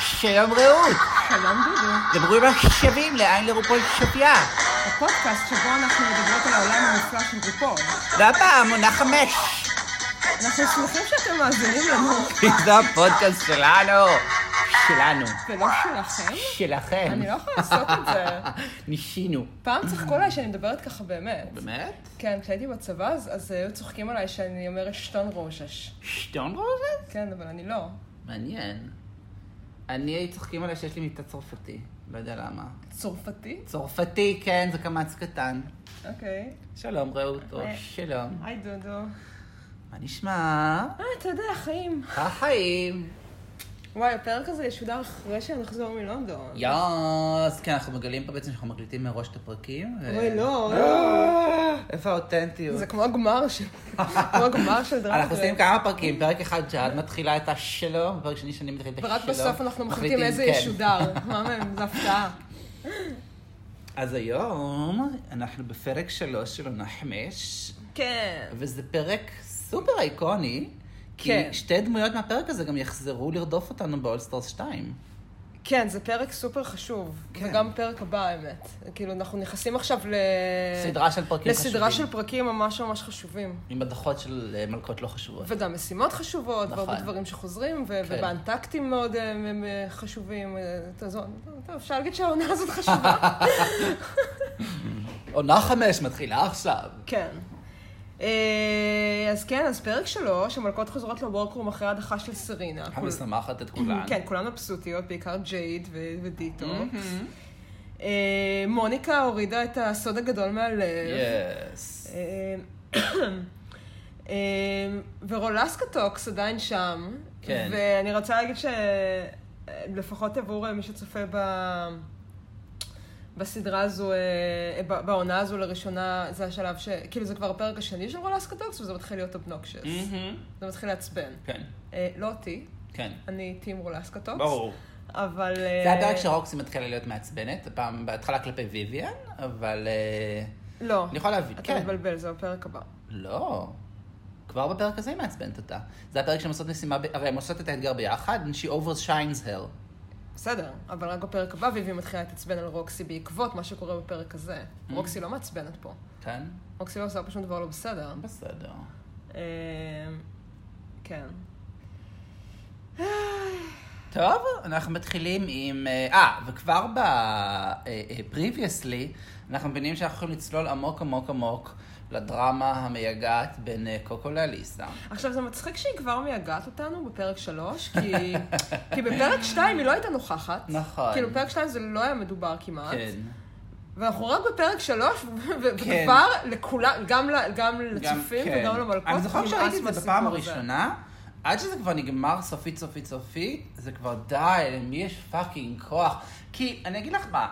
שלום רעות. שלום דודו, דברו עם השווים לאן לרופול שוויה. הפודקאסט שבו אנחנו מדברות על העולם המופלא של רופול. והפעם עונה חמש. אנחנו שמחים שאתם מאזינים לנו, כי זה הפודקאסט שלנו. שלנו. ולא לא שלכם? שלכם. אני לא יכולה לעשות את זה. ניסינו. פעם צחקו עליי שאני מדברת ככה באמת. באמת? כן, כשהייתי בצבא אז אז היו צוחקים עליי שאני אומרת שטון רוז'ש. שטון רוזן? כן, אבל אני לא. מעניין. אני הייתי צוחקים עליה שיש לי מיטה צרפתי. לא יודע למה. צרפתי? צרפתי, כן, זה קמץ קטן. אוקיי. שלום רעות, או אה. שלום. היי דודו. מה נשמע? אה, אתה יודע, חיים. החיים. וואי, הפרק הזה ישודר אחרי שנחזור מלונדון. יאס, כן, אנחנו מגלים פה בעצם שאנחנו מקליטים מראש את הפרקים. ו- אוי, לא. אה, איפה האותנטיות? זה כמו הגמר של... כמו הגמר של דרמה. אנחנו עושים כמה פרקים, פרק אחד שאת מתחילה את השלום, פרק שני שאני מתחילה את השלום. ורק בסוף אנחנו מחליטים מחליטים, איזה כן. ישודר. מה מהם? זו הפתעה. אז היום אנחנו בפרק שלוש של עונה חמש, כן. וזה פרק סופר איקוני, כי כן. שתי דמויות מהפרק הזה גם יחזרו לרדוף אותנו באולסטרס 2. כן, זה פרק סופר חשוב. כן. וגם פרק הבא, האמת. כאילו, אנחנו נכנסים עכשיו ל... סדרה של פרקים חשובים. אה, לסדרה של פרקים ממש ממש חשובים. עם הדחות של אה, מלכות לא חשובות. וגם משימות חשובות, נכון. והרבה דברים שחוזרים, ו- כן. ובאנטקטים מאוד אה, הם אה, חשובים. אה, טוב, זו- טוב, אפשר להגיד שהעונה הזאת חשובה. עונה חמש מתחילה עכשיו. כן. אה, אז כן, אז פרק שלוש, המלכות חוזרות לבורקרום אחרי הדחה של סרינה. כול- המשמחת את כולן. כן, כולן מבסוטיות, בעיקר ג'ייד ו- ודיטו. Mm-hmm. אה, מוניקה הורידה את הסוד הגדול מהלב. יס. אה, אה, ורולסקה טוקס עדיין שם. כן. ואני רוצה להגיד שלפחות עבור אה, מי שצופה ב... בסדרה הזו, אה, ב- בעונה הזו לראשונה, זה השלב ש... כאילו, זה כבר הפרק השני של רולסקה טוקס, וזה מתחיל להיות אובנוקשס. Mm. זה מתחיל לעצבן. Mm-hmm. כן, אה, לא אותי, כן. אני טים רולסקה טוקס. ברור. אבל... זה אה, הפרק שרוקסי מתחילה להיות מעצבנת, הפעם בהתחלה כלפי ויויאן, אבל... אה, לא. אני יכול להבין, אתה כן. מתבלבל, זה בפרק הבא. לא. כבר בפרק הזה היא מעצבנת אותה. זה הפרק שהן עושות משימה, ב- הרי הן עושות את האתגר ביחד, and she overshines her. בסדר, אבל רק בפרק הבא ויבי מתחילה להתעצבן על רוקסי בעקבות מה שקורה בפרק הזה. Mm. רוקסי לא מעצבנת פה. כן? רוקסי לא עושה פה שום דבר לא בסדר. בסדר. אה, כן. טוב, אנחנו מתחילים עם... אה, אה, וכבר ב... פריבייסלי, אנחנו מבינים שאנחנו יכולים לצלול עמוק עמוק עמוק לדרמה המייגעת בין אה, קוקו לאליסה. עכשיו, זה מצחיק שהיא כבר מייגעת אותנו בפרק שלוש, כי, כי בפרק שתיים היא לא הייתה נוכחת. נכון. כאילו, בפרק שתיים זה לא היה מדובר כמעט. כן. ואנחנו רק בפרק שלוש, ו- ו- כן. וכבר לכולם, גם, ל- גם גם- לצופים כן. וגם למלכות, אני זוכר נמאס שראיתי את זה מהסיפור בפעם הזה. הראשונה, עד שזה כבר נגמר סופית סופית סופית, זה כבר די, למי יש פאקינג כוח? כי, אני אגיד לך מה,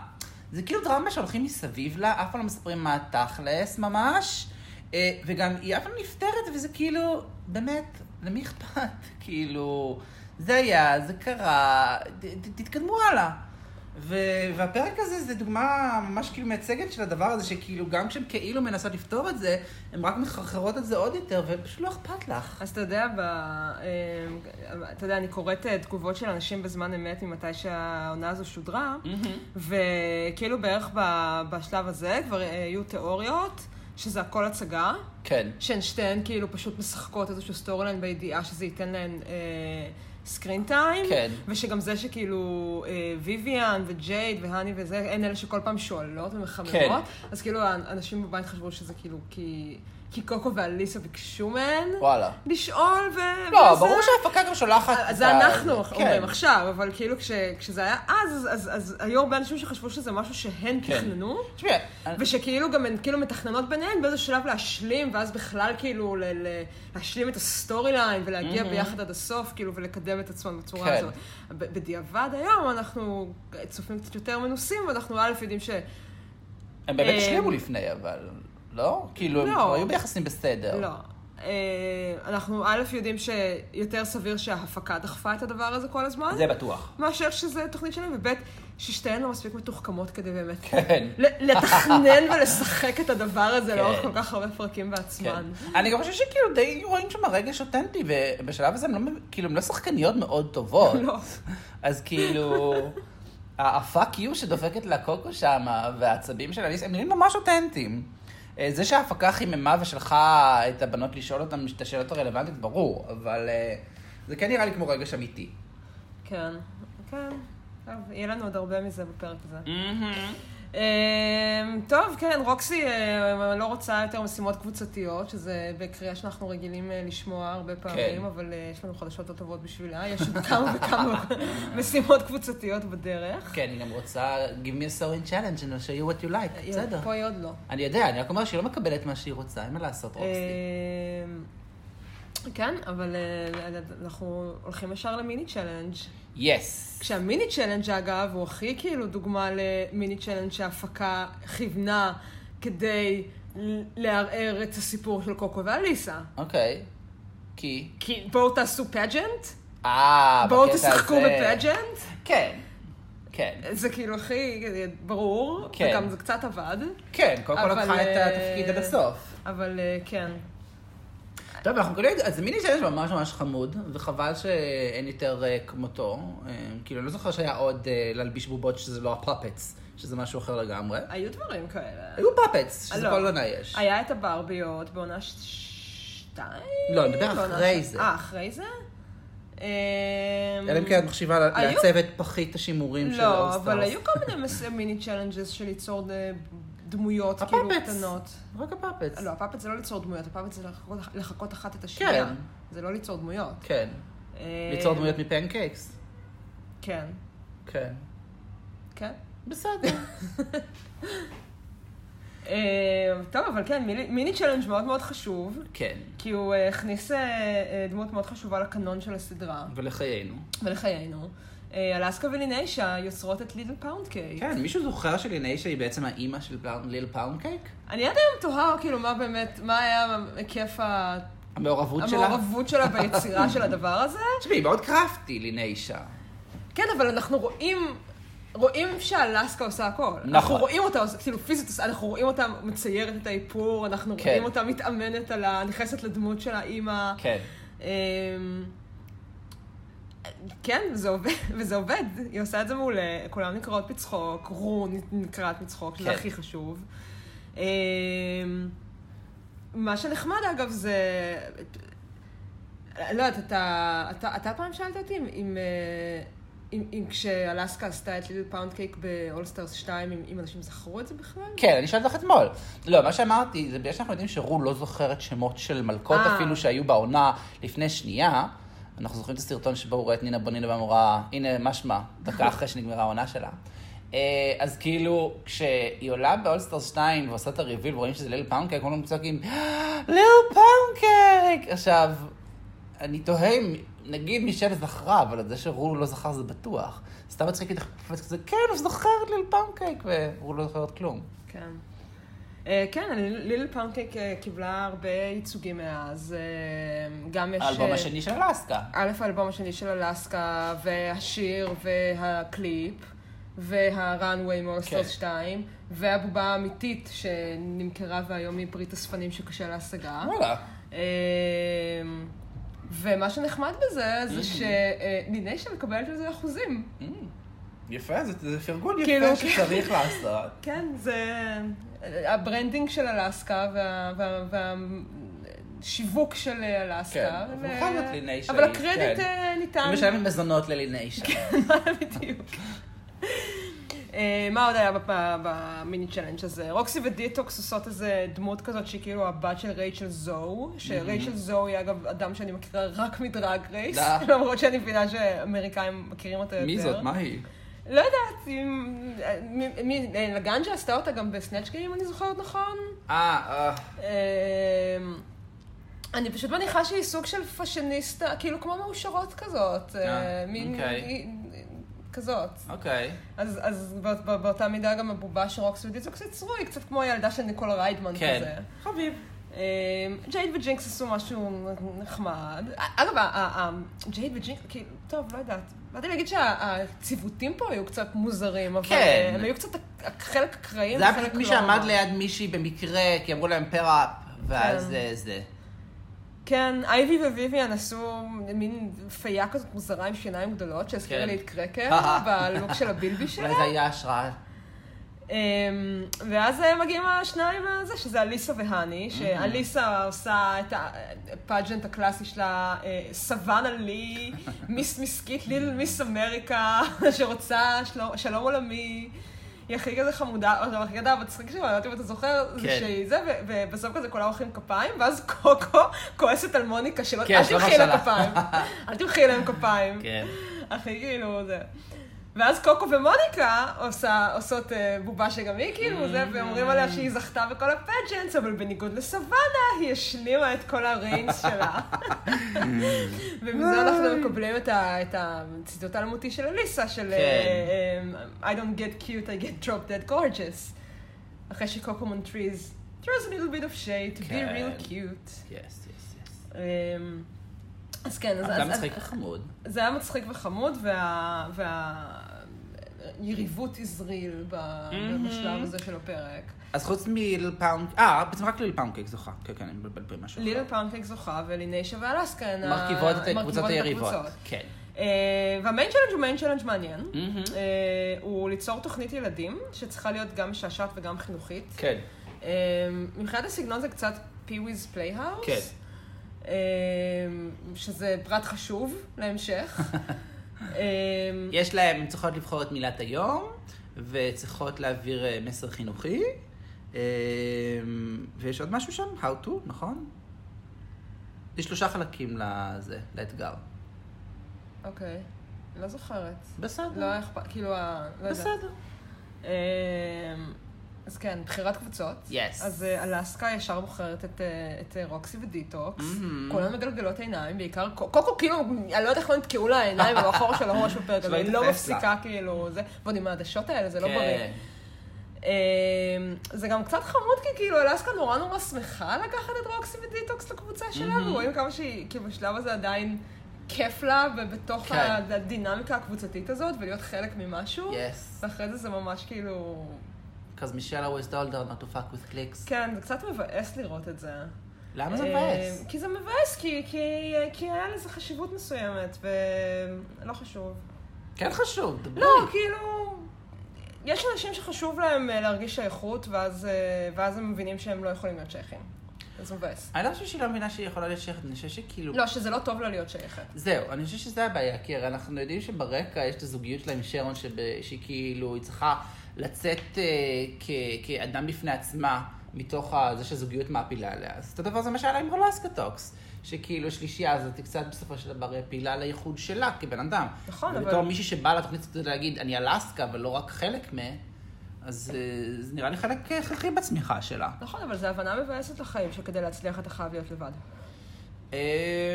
זה כאילו דרמה שהולכים מסביב לה, אף פעם לא מספרים מה התכלס ממש, אה, וגם היא אף פעם לא נפתרת, וזה כאילו, באמת, למי אכפת? כאילו, זה היה, זה קרה, ת- ת- תתקדמו הלאה. ו- והפרק הזה זה דוגמה ממש כאילו מייצגת של הדבר הזה, שכאילו גם כשהן כאילו מנסות לפתור את זה, הן רק מחרחרות את זה עוד יותר, ופשוט לא אכפת לך. אז אתה יודע, ב... אה, אתה יודע, אני קוראת אה, תגובות של אנשים בזמן אמת ממתי שהעונה הזו שודרה, Mm-hmm. וכאילו בערך ב... בשלב הזה כבר אה, היו תיאוריות, שזה הכל הצגה, כן. שהן שתיהן כאילו פשוט משחקות איזשהו סטורי ליין בידיעה שזה ייתן להן אה, סקרין טיים, כן. ושגם זה שכאילו אה, ויויאן וג'ייד והני וזה, הן אלה שכל פעם שואלות ומחממות, כן. אז כאילו האנשים בבית חשבו שזה כאילו כי... כי קוקו ואליסה ביקשו מהן. וואלה. לשאול ו... לא, וזה- ברור שההפקה גם שולחת... אז את זה ה- אנחנו כן. אומרים עכשיו, אבל כאילו כש- כשזה היה אז, אז- אז- אז היו הרבה אנשים שחשבו שזה משהו כן. שהן תכננו, תשמעי, אני- ושכאילו גם הן כאילו מתכננות ביניהן באיזה שלב להשלים, ואז בכלל כאילו ל- ל- להשלים את הסטורי ליין ולהגיע ביחד עד הסוף, כאילו, ולקדם את עצמן בצורה Mm-hmm. כן. הזאת. ב- בדיעבד היום אנחנו צופים קצת יותר מנוסים, ואנחנו א' יודעים ש... הם באמת אה, השלימו לפני, אבל... לא? כאילו, הם לא. כבר היו ביחסים בסדר. לא. אה, אנחנו א' יודעים שיותר סביר שההפקה דחפה את הדבר הזה כל הזמן. זה בטוח. מאשר שזה תוכנית שלהם, וב' ששתיהן לא מספיק מתוחכמות כדי באמת כן. ל- לתכנן ולשחק את הדבר הזה כן. לאורך כל כך הרבה פרקים בעצמן. כן. אני גם חושבת שכאילו די רואים שם רגש אותנטי, ובשלב הזה הם לא, מב- כאילו, הם לא שחקניות מאוד טובות. לא. אז כאילו, ה- הפאק יו שדופקת לה קוקו שם, והעצבים שלה, הם נראים ממש אותנטיים. אה, זה שההפקה חיממה ושלחה את הבנות לשאול אותן את השאלות הרלוונטיות, ברור, אבל אה, זה כן נראה לי כמו רגש אמיתי. כן, כן. טוב, יהיה לנו עוד הרבה מזה בפרק הזה. Mm-hmm. אמ, טוב, כן, רוקסי אה, לא רוצה יותר משימות קבוצתיות, שזה בקריאה שאנחנו רגילים אה, לשמוע כן. הרבה פעמים, אבל אה, יש לנו חדשות לא טובות בשבילה, יש עוד כמה וכמה משימות קבוצתיות בדרך. כן, היא גם רוצה, give me a sewing challenge and I'll show you what you like, בסדר. פה היא עוד לא. אני יודע, אני רק אומר שהיא לא מקבלת מה שהיא רוצה, אין מה לעשות, רוקסי. אמ, כן, אבל אה, אנחנו הולכים ישר למיני צ'אלנג'. יס. כשהמיני צ'לנג' אגב, הוא הכי כאילו דוגמה למיני צ'לנג' שההפקה כיוונה כדי ל- לערער את הסיפור של קוקו ואליסה. אוקיי. כי? כי בואו תעשו פג'נט, אה, בואו בקטע תשחקו הזה. בפג'נט. כן. כן. זה כאילו הכי ברור, כן. וגם זה קצת עבד, כן, קודם כל אבל, לקחה את אה, התפקיד עד הסוף. אבל אה, כן. טוב, אנחנו כאילו, אז מיני שיש ממש ממש חמוד, וחבל שאין יותר אה, כמותו. אה, כאילו, אני לא זוכר שהיה עוד אה, להלביש בובות שזה לא הפאפץ, שזה משהו אחר לגמרי. היו דברים כאלה. היו פאפץ, שזה לא. כל עונה יש. היה את הברביות בעונה ש- שתיים? לא, נדבר בעונה אחרי ש- זה. אה, אחרי זה? אמ, אלא אם כן את מחשיבה לה- היו- לעצב את פחית השימורים של לא, אולסטארס. אבל היו כל מיני מס- מיני צ'אלנג'ס של ליצור אה, דמויות כאילו הפאפץ. קטנות. רק הפאפץ. לא, הפאפט זה לא ליצור דמויות, הפאפט זה לחכות, לחכות אחת את השנייה. כן. זה לא ליצור דמויות. כן. אה, ליצור דמויות מפנקייקס. כן, כן. כן. בסדר. אה, טוב, אבל כן, מיני- מיני צ'אלנג' מאוד מאוד חשוב, כן. כי הוא אה, הכניס אה, אה, דמות מאוד חשובה לקנון של הסדרה ולחיינו. ולחיינו. אה, אלסקה וליניישה יוצרות את לידל פאונד קייק. כן, מישהו זוכר שלינאישה היא בעצם האימא של פלאונ- ליל פאונד קייק? אני עד היום תוהה, כאילו, מה באמת, מה היה היקף ה- המעורבות שלה? המעורבות שלה ביצירה של הדבר הזה? תשמעי, מאוד קרפטי לינאישה. כן, אבל אנחנו רואים, רואים שאלסקה עושה הכל. נכון. אנחנו רואים אותה, עושה- כאילו פיזית, עושה- אנחנו רואים אותה מציירת את האיפור, אנחנו כן. רואים אותה מתאמנת על ה... נכנסת לדמות של האימא. כן. אמ, כן, זה עובד, וזה עובד, היא עושה את זה מעולה, כולם נקראות בצחוק, רו נקראת מצחוק, שזה כן. הכי חשוב. אמ, מה שנחמד אגב זה, לא יודעת, אתה, אתה, אתה פעם שאלת אותי אם, אם, אה, אם, אם כשאלסקה עשתה את ליל פאונד קייק באולסטארס 2, אם, אם אנשים זכרו את זה בכלל? כן, אני שאלתי לך אתמול. לא, מה שאמרתי, זה בגלל שאנחנו יודעים שרו לא זוכרת שמות של מלכות אה. אפילו שהיו בעונה לפני שנייה. אנחנו זוכרים את הסרטון שבו הוא רואה את נינה בונינה ואמרה, הנה, מה שמה, דקה אחרי שנגמרה העונה שלה. אה, אז כאילו, כשהיא עולה באולסטרס 2 ועושה את הריביל ורואים שזה ליל פאונקייק, כולם צועקים, "אה, ליל פאונקייק! עכשיו, אני תוהה אם, נגיד מישל זכרה, אבל זה שרו לא זכר זה בטוח. סתם מצחיק לי, קפץ כזה, כן, הוא זוכר את ליל פאונקייק, והוא לא זוכר עוד כלום. כן. אה, כן, ליל פאונקייק אה, קיבלה הרבה ייצוגים מאז. אה, גם יש... האלבום אה, השני של אלסקה. א', האלבום השני של אלסקה, והשיר, והקליפ, והראנווי מורסטרס כן. 2, והבובה האמיתית שנמכרה והיום היא פריט אספנים שקשה להשגה. וואלה. אה, ומה שנחמד בזה, Mm-hmm. זה אה, שניניישה מקבלת על זה אחוזים. יפה, זה זה פרגון כאילו, יפה כן. שצריך לעשות. כן, זה אה, הברנדינג של אלסקה וה- וה- והשיווק של אלסקה. כן, ו- ובכל זאת לינאי אבל שהיא, הקרדיט כן. אה, אני ניתן. משלמת מזונות לליניישה. בדיוק. אה, מה עוד היה בפ- במיני צ'אלנג' הזה? רוקסי ודיטוקס עושות איזה דמות כזאת שהיא כאילו הבת של רייצ'ל זו, Mm-hmm. שרייצ'ל זו היא אגב אדם שאני מכירה רק מדרג רייס, דה. למרות שאני מבינה שאמריקאים מכירים אותה יותר. אה. מי זאת? מה היא? לא יודעת, אם... מי- מי- אה, לגנג'ה עשתה אותה גם בסנאצ' גיים, אם אני זוכרת נכון. אה, אה, אמ, אני פשוט מניחה שהיא סוג של פאשיניסטה, כאילו כמו מאושרות כזאת. אה, אה, מין... אוקיי. היא- כזאת. אוקיי. אז, אז בא, בא, באותה מידה גם הבובה שרוקס ודיזוקס יצרו, היא קצת כמו הילדה של ניקול ריידמן כן. כזה. חביב. Uh, אה, ג'ייד וג'ינקס עשו משהו נחמד. אגב, ה- ה- ה- ג'ייד וג'ינקס, כאילו, טוב, לא יודעת. באתי להגיד שהציוותים פה היו קצת מוזרים, אבל אה, כן. הם היו קצת הק- חלק אקראיים, זה היה חלק פשוט מי לא. שעמד ליד מישהי במקרה, כי אמרו להם פראפ, ואז אה, זה. כן, אייבי וויביאן עשו מין פייה כזאת מוזרה עם שיניים גדולות, שהזכירה כן. לי את קרקר, בלוק של הבילבי שלה. אולי זה היה השראה. אמ, ואז אה, מגיעים השניים הזה, שזה אליסה והני, שאליסה עושה את הפאג'נט הקלאסי שלה, אה, סוואנה לי, מיס מיסקית, ליל מיס אמריקה, שרוצה שלום- שלום עולמי. היא הכי כזה חמודה, עכשיו הכי גדולה, מצחיק שלה, אני לא יודעת אם אתה זוכר, זה כן. שהיא זה, ו- ובסוף כזה כולם מוחאים כפיים, ואז קוקו כועסת על מוניקה שלא, כן, אל שלא תמחאי מרשה לה לה." כפיים, אל תמחאי להם כפיים. כן. הכי כאילו זה. ואז קוקו ומוניקה עושה, עושות אה, בובה שגם היא כאילו זה, Mm-hmm. ואומרים עליה שהיא זכתה בכל הפג'נטס, אבל בניגוד לסוואנה, היא השלימה את כל הריינס שלה. Mm-hmm. ומזה אנחנו מקבלים את ה- את הציטוט האלמותי של אליסה, של אה, כן. אה, I don't get cute, I get drop dead gorgeous. אחרי שקוקו מונטריז, throws a little bit of shade to be כן. real cute. יס, יס, יס. אה, אז כן, אז... אתה אז- מצחיק וחמוד. זה היה מצחיק וחמוד, וה... וה... יריבות הזריל ב- בשלב הזה של הפרק. אז חוץ מליל פאונד, אה, בעצם רק ליל פאונד קייק זוכה. כן, כן, אני מבלבל פה עם משהו. אחר. לילה פאונקק זוכה ולינשה ואלסקה הן ה- מרכיבות את הקבוצות מרכיבות את היריבות. הקבוצות. כן. אה, והמיין צ'לנג' הוא מיין צ'לנג' מעניין. Mm-hmm. אה, הוא ליצור תוכנית ילדים, שצריכה להיות גם משעשעת וגם חינוכית. כן. אה, מבחינת הסגנון זה קצת פיוויז פלייהאוס. כן. אה, שזה פרט חשוב להמשך. אה, יש להם, הן צריכות לבחור את מילת היום, וצריכות להעביר אה, מסר חינוכי. אה, ויש עוד משהו שם? How to, נכון? יש שלושה חלקים לזה, לאתגר. אוקיי, לא זוכרת. לא בסדר. היה אכפת, כאילו, ה- לא יודעת. בסדר. אמ, אז כן, בחירת קבוצות. Yes. אז אה, אלסקה ישר בוחרת את, אה, את אה, רוקסי ודיטוקס. Mhm. כולן מגלגלות עיניים, בעיקר קו- קוקו, כאילו, אני לא יודעת איך לא נתקעו לה העיניים במאחור של הראש בפרק שלא הזה, היא לא יתפס לה. מפסיקה, כאילו, זה. ועוד עם העדשות האלה, זה לא בריא. כן. אמ, זה גם קצת חמוד, כי כאילו אלסקה נורא נורא שמחה לקחת את רוקסי ודיטוקס לקבוצה שלה, מהמם. ורואים כמה שהיא, כאילו בשלב הזה עדיין כיף לה, ובתוך כן. ה- הדינמיקה הקבוצתית הזאת, ולהיות חלק ממשהו. Yes. ואחרי זה זה ממש כאילו... Because Michelle always told her not to fuck with clicks. כן, זה קצת מבאס לראות את זה. למה זה אמ, מבאס? כי זה מבאס, כי, כי, כי היה לזה חשיבות מסוימת, ולא חשוב. כן חשוב, דברי. לא, כאילו... יש אנשים שחשוב להם אה, להרגיש שייכות, ואז, אה, ואז הם מבינים שהם לא יכולים להיות שייכים. אז זה מבאס. אני לא חושבת שהיא לא מבינה שהיא יכולה להיות שייכת, אני חושבת שכאילו... לא, שזה לא טוב לה להיות שייכת. זהו, אני חושבת שזה הבעיה, כי הרי אנחנו יודעים שברקע יש את הזוגיות שלה עם שרון, שב... שכאילו היא צריכה לצאת אה, כ... כאדם בפני עצמה, מתוך ה... זה שהזוגיות מעפילה עליה. אז אותו דבר זה מה שהיה לה עם רולסקה טוקס, שכאילו השלישייה הזאת היא קצת בסופו של דבר העפילה לייחוד שלה כבן אדם. נכון, ובתור אבל- מישהי שבאה לתוכנית הזאת להגיד, אני אלסקה, ולא רק חלק מה... אז אה, זה נראה לי חלק הכרחי בצמיחה שלה. נכון, אבל זו הבנה מבאסת לחיים, שכדי להצליח אתה חייב להיות לבד. אה, אמ,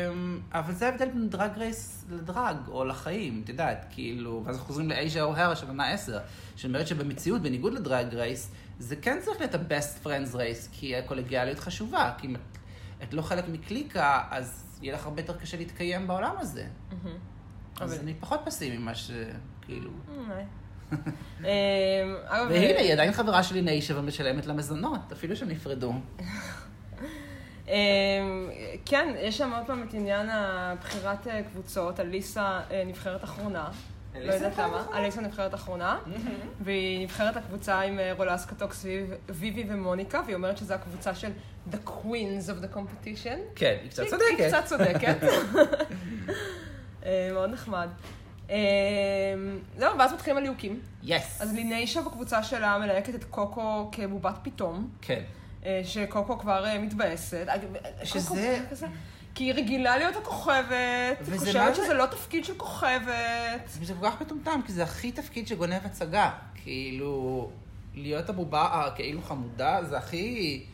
אבל זה ההבדל בין דרג רייס לדרג, או לחיים, את יודעת, כאילו, ואז חוזרים לאייז'ה אוהרה של עונה 10, שאומרת שבמציאות, בניגוד לדרג רייס, זה כן צריך להיות ה-best friends race, כי הקולגיאליות חשובה, כי אם את, את לא חלק מקליקה, אז יהיה לך הרבה יותר קשה להתקיים בעולם הזה. אז Mm-hmm. אבל- אני פחות פסימי ממה ש... כאילו... אולי. אמ, אגב, והנה, היא עדיין חברה שלי ניישה ומשלמת לה מזונות, אפילו שהם נפרדו. אמ, כן, יש שם עוד פעם את עניין הבחירת אה, קבוצות. אליסה אה, נבחרת אחרונה. אליסה לא יודעת נבחרת למה. אחרונה? Mm-hmm. אליסה נבחרת אחרונה. והיא נבחרת הקבוצה עם אה, רולס קטוקס, ויב- ויבי ומוניקה, והיא אומרת שזו הקבוצה של The Queens of the Competition. כן, היא קצת היא- היא צודקת. קצת צודקת. אה, מאוד נחמד. אמ, זהו, ואז מתחילים הליהוקים. יס. אז ליניישה בקבוצה שלה מלהקת את קוקו כבובת פתאום. כן. אה, שקוקו כבר אה, מתבאסת. אגב, אה, שזה- קוקו כבר כזה- כי היא רגילה להיות הכוכבת, וזה היא מה חושבת זה- שזה לא תפקיד של כוכבת. זה כל כך מטומטם, כי זה הכי תפקיד שגונב הצגה. כאילו, להיות הבובה הכאילו חמודה, זה הכי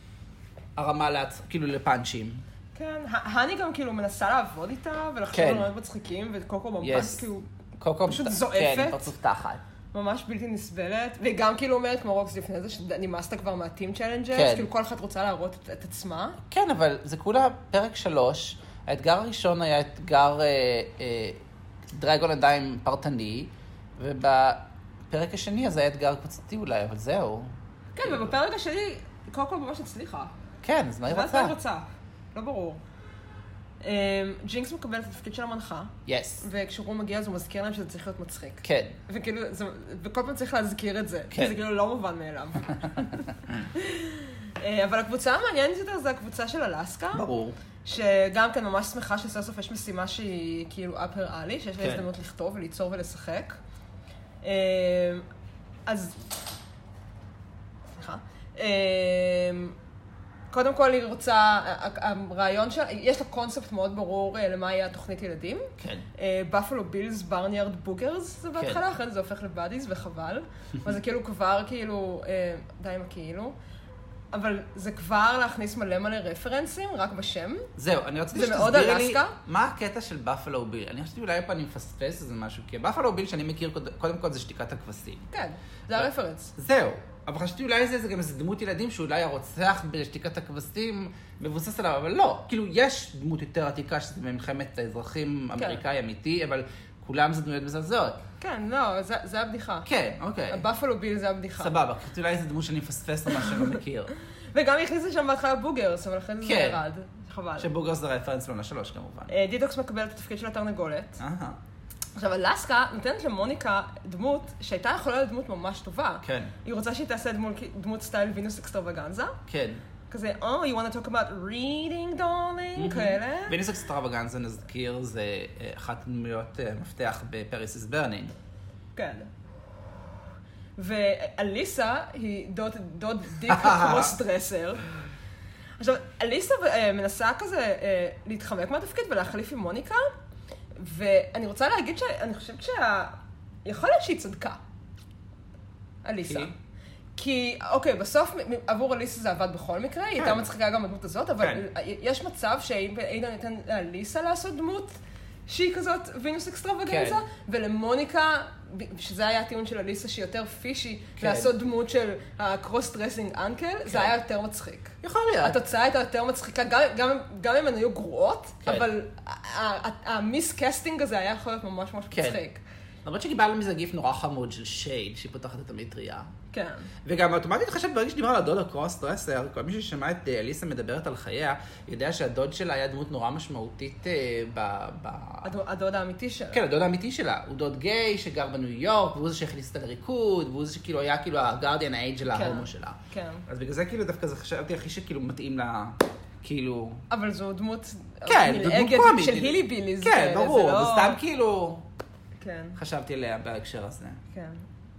הרמה לעצ... כאילו לפאנצ'ים. כן, ה- האני גם כאילו מנסה לעבוד איתה ולחשוב כן. על רעיונות מצחיקים, וקוקו ממש Yes. כאילו קוקו, פשוט מת- זועפת. כן, עם פרצוף תחת. ממש בלתי נסבלת, והיא גם כאילו אומרת, כמו רוקס לפני זה, שנמאסת כבר מהטים צ'אלנג'ס, כן. כאילו כל אחת רוצה להראות את, את עצמה. כן, אבל זה כולה פרק שלוש. האתגר הראשון היה אתגר אה, אה, דרגון עדיין פרטני, ובפרק השני אז היה אתגר קבוצתי אולי, אבל זהו. כן, כאילו. ובפרק השני, קודם כל ממש הצליחה. כן, אז מה היא ואז רוצה? מה היא רוצה? לא ברור. אמ, ג'ינקס מקבל את התפקיד של המנחה, יס. וכשהוא מגיע אז הוא מזכיר להם שזה צריך להיות מצחיק. כן. וכאילו, זה, וכל פעם צריך להזכיר את זה, כן. כי זה כאילו לא מובן מאליו. אה, אבל הקבוצה המעניינת יותר זה הקבוצה של אלסקה, ברור. שגם כן ממש שמחה שסוף סוף יש משימה שהיא כאילו upper alley, שיש לה כן. הזדמנות לכתוב וליצור ולשחק. אה, אז... סליחה. אה, קודם כל היא רוצה, ה- ה- הרעיון שלה, יש לה קונספט מאוד ברור אה, למה יהיה התוכנית ילדים. כן. בפלו בילס, ברניארד בוגרס זה בהתחלה, אחרי זה זה הופך לבאדיז וחבל. אבל זה כאילו כבר כאילו, אה, די עם הכאילו. אבל זה כבר להכניס מלא מלא רפרנסים, רק בשם. זהו, אני רציתי זה מאוד שתסבירי לי אלסקה? מה הקטע של בפלו ביל. אני חשבתי אולי פה אני מפספס איזה משהו, כי בפלו ביל שאני מכיר קוד- קודם כל זה שתיקת הכבשים. כן, זה הרפרנס. זהו. אבל חשבתי אולי זה, זה גם איזה דמות ילדים שאולי הרוצח בשתיקת הכבשים מבוסס עליו, אבל לא. כאילו, יש דמות יותר עתיקה שזה במלחמת האזרחים אמריקאי אמיתי, אבל כולם זה דמויות מזעזעות. כן, לא, זה זה הבדיחה. כן, אוקיי. הבפלו ביל זה הבדיחה. סבבה, חשבתי אולי איזה דמות שאני מפספס או משהו שאני לא מכיר. וגם הכניסו שם בהתחלה בוגרס, אבל אחרי זה זה כן. ירד. חבל. שבוגר זה רפרנס לעונה שלוש כמובן. אה, דיטוקס מקבל את התפקיד של התרנגולת. אהה, עכשיו, אלסקה נותנת למוניקה דמות שהייתה יכולה להיות דמות ממש טובה. כן, היא רוצה שהיא תעשה דמות- דמות סטייל וינוס אקסטרווגנזה. כן. כזה, oh, you want to talk about reading, Mm-hmm. darling, כאלה. וניס אקסטרווגנזה, נזכיר, זה אה, אחת הדמויות אה, מפתח בפריס איז ברנינג. כן. ואליסה היא דוד, דוד דיק הקרוס דרסר. עכשיו, אליסה אה, מנסה כזה אה, להתחמק מהתפקיד ולהחליף עם מוניקה, ואני רוצה להגיד שאני חושבת שה... יכול להיות שהיא צדקה, אליסה. כי? כי, אוקיי, בסוף מ- מ- עבור אליסה זה עבד בכל מקרה, היא כן. הייתה מצחיקה גם הדמות הזאת, אבל כן. יש מצב שעידן ניתן לאליסה לעשות דמות שהיא כזאת וינוס אקסטרווגנזה, כן. ולמוניקה, ב- שזה היה הטיעון של אליסה, שהיא יותר פישי, כן. לעשות דמות של הקרוס דרסינג אנקל, זה היה יותר מצחיק. יכול להיות. התוצאה הייתה יותר מצחיקה, גם, גם, גם אם הן היו גרועות, כן. אבל המיסקסטינג הזה היה יכול להיות ממש ממש כן. מצחיק. למרות שקיבלנו מזה גיף נורא חמוד של שייד, שהיא פותחת את המטריה. כן. וגם אוטומטית חשבת, ברגע שדיברה על הדוד הקרוס דרסר, כל מי ששמע את אה, אליסה מדברת על חייה, יודע שהדוד שלה היה דמות נורא משמעותית אה, ב... ב... הדו- הדוד האמיתי שלה. כן, הדוד האמיתי שלה. הוא דוד גיי שגר בניו יורק, והוא זה שהכניס אותה לריקוד, והוא זה שכאילו היה כאילו הגרדיאן האייד של ההומו שלה. כן. אז בגלל זה כאילו דווקא זה חשבתי הכי שכאילו מתאים לה, כאילו... אבל זו דמות כן, נלעגת דוד מקומי. של הילי ביליז. כן, כאלה, ברור, זה אבל לא- סתם כאילו כן, חשבתי עליה בהקשר הזה. כן.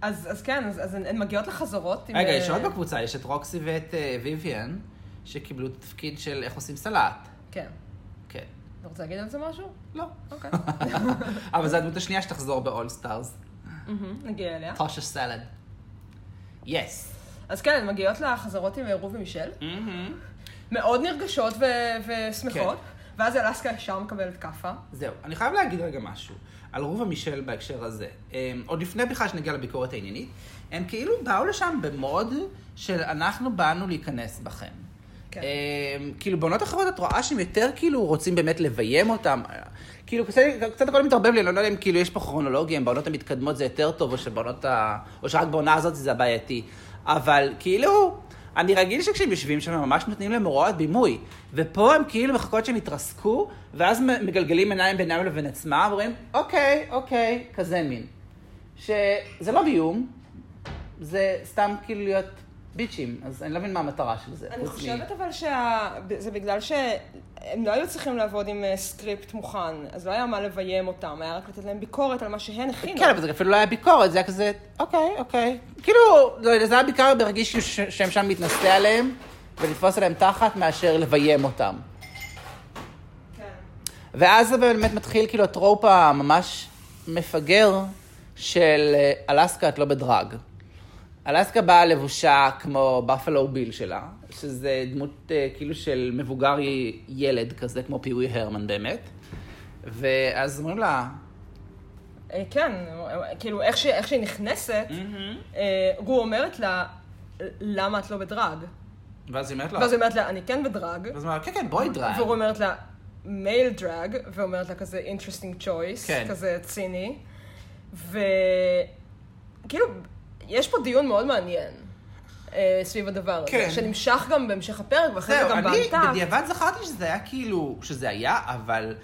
אז אז כן, אז אז הן הן מגיעות לחזרות עם... רגע, אה, יש עוד בקבוצה, יש את רוקסי ואת אה, ויויאן, שקיבלו את התפקיד של איך עושים סלט. כן. כן. אתה רוצה להגיד על זה משהו? לא. אוקיי. אבל זו הדמות השנייה שתחזור באול סטארס. מהמם, נגיע אליה. טושה סלד. יס. אז כן, הן מגיעות לחזרות עם רו ומישל, מאוד נרגשות ו- ושמחות, כן. ואז אלסקה ישר מקבלת כאפה. זהו. אני חייב להגיד רגע משהו על רובה מישל בהקשר הזה. אמ, עוד לפני בכלל שנגיע לביקורת העניינית, הם כאילו באו לשם במוד של אנחנו באנו להיכנס בכם. כן. אמ, כאילו בעונות אחרות את רואה שהם יותר כאילו רוצים באמת לביים אותם. כאילו קצת, קצת הכל מתערבב לי, אני לא יודע אם כאילו יש פה כרונולוגיה, אם בעונות המתקדמות זה יותר טוב, או, שבעונות ה... או שרק בעונה הזאת זה הבעייתי. אבל כאילו, אני רגיל שכשהם יושבים שם הם ממש נותנים להם הוראות בימוי. ופה הם כאילו מחכות שהם יתרסקו, ואז מ- מגלגלים עיניים בינם לבין עצמם, ואומרים, אוקיי, אוקיי, כזה מין. שזה לא ביום, זה סתם כאילו להיות ביצ'ים, אז אני לא מבין מה המטרה של זה. אני חוץ מ- חושבת אבל שזה בגלל שהם לא היו צריכים לעבוד עם אה, סקריפט מוכן, אז לא היה מה לביים אותם, היה רק לתת להם ביקורת על מה שהן הכינו. כן, אבל זה אפילו לא היה ביקורת, זה היה כזה, אוקיי, אוקיי. כאילו, לא יודע, זה היה בעיקר ברגיש ש- שהם שם להתנשא עליהם ולתפוס עליהם תחת מאשר לביים אותם. כן. ואז זה באמת מתחיל כאילו הטרופ הממש מפגר של אה, אלסקה את לא בדרג. אלסקה באה לבושה כמו בפלו ביל שלה, שזה דמות אה, כאילו של מבוגר י- ילד כזה, כמו פיווי הרמן באמת. ואז אומרים לה, אה, כן, כאילו, איך שהיא איך שהיא נכנסת, אה, רו אומרת לה, למה את לא בדרג? ואז היא אומרת לו, ואז היא אומרת לה, אני כן בדרג. ואז היא אומרת, כן, כן, בואי דרייב. והוא אומרת לה, מייל דרג, ואומרת לה כזה interesting choice, כן. כזה ציני. וכאילו, יש פה דיון מאוד מעניין אה, סביב הדבר הזה, כן. שנמשך גם בהמשך הפרק, ואחרי זה זהו, גם אני באמתק. בדיעבד זכרתי שזה היה כאילו, שזה היה, אבל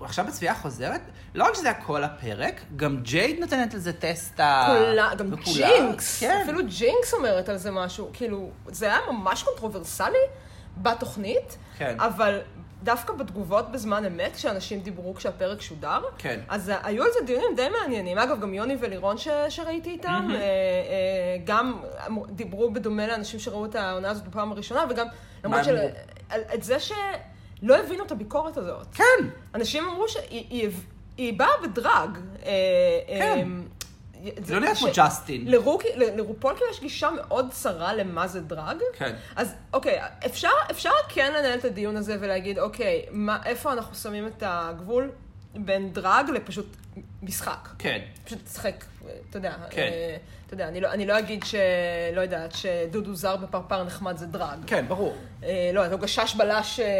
עכשיו בצפייה חוזרת, לא רק שזה היה כל הפרק, גם ג'ייד נותנת לזה טסטה. כולה, גם וכולם- ג'ינקס, כן. אפילו ג'ינקס אומרת על זה משהו, כאילו, זה היה ממש קונטרוברסלי בתוכנית, כן. אבל דווקא בתגובות בזמן אמת, כשאנשים דיברו כשהפרק שודר, כן. אז היו על זה דיונים די מעניינים. אגב, גם יוני ולירון ש... שראיתי איתם, אה, אה, גם אמרו- דיברו בדומה לאנשים שראו את העונה הזאת בפעם הראשונה, וגם, למרות של... אמרו? על- את זה שלא הבינו את הביקורת הזאת. כן, אנשים אמרו שהיא היא, היא באה בדרג. אה, כן. זה לא נראה כמו ג'סטין. לרוק, ל- לרופול כאילו יש גישה מאוד צרה למה זה דרג. כן. אז אוקיי, אפשר, אפשר כן לנהל את הדיון הזה ולהגיד, אוקיי, מה, איפה אנחנו שמים את הגבול בין דרג לפשוט משחק. כן. פשוט תשחק, אתה יודע. כן. אה, אתה יודע, אני לא, אני לא אגיד ש... לא יודעת, שדודו זר בפרפר נחמד זה דרג. כן, ברור. אה, לא, אז הוא גשש בלש אה, אה,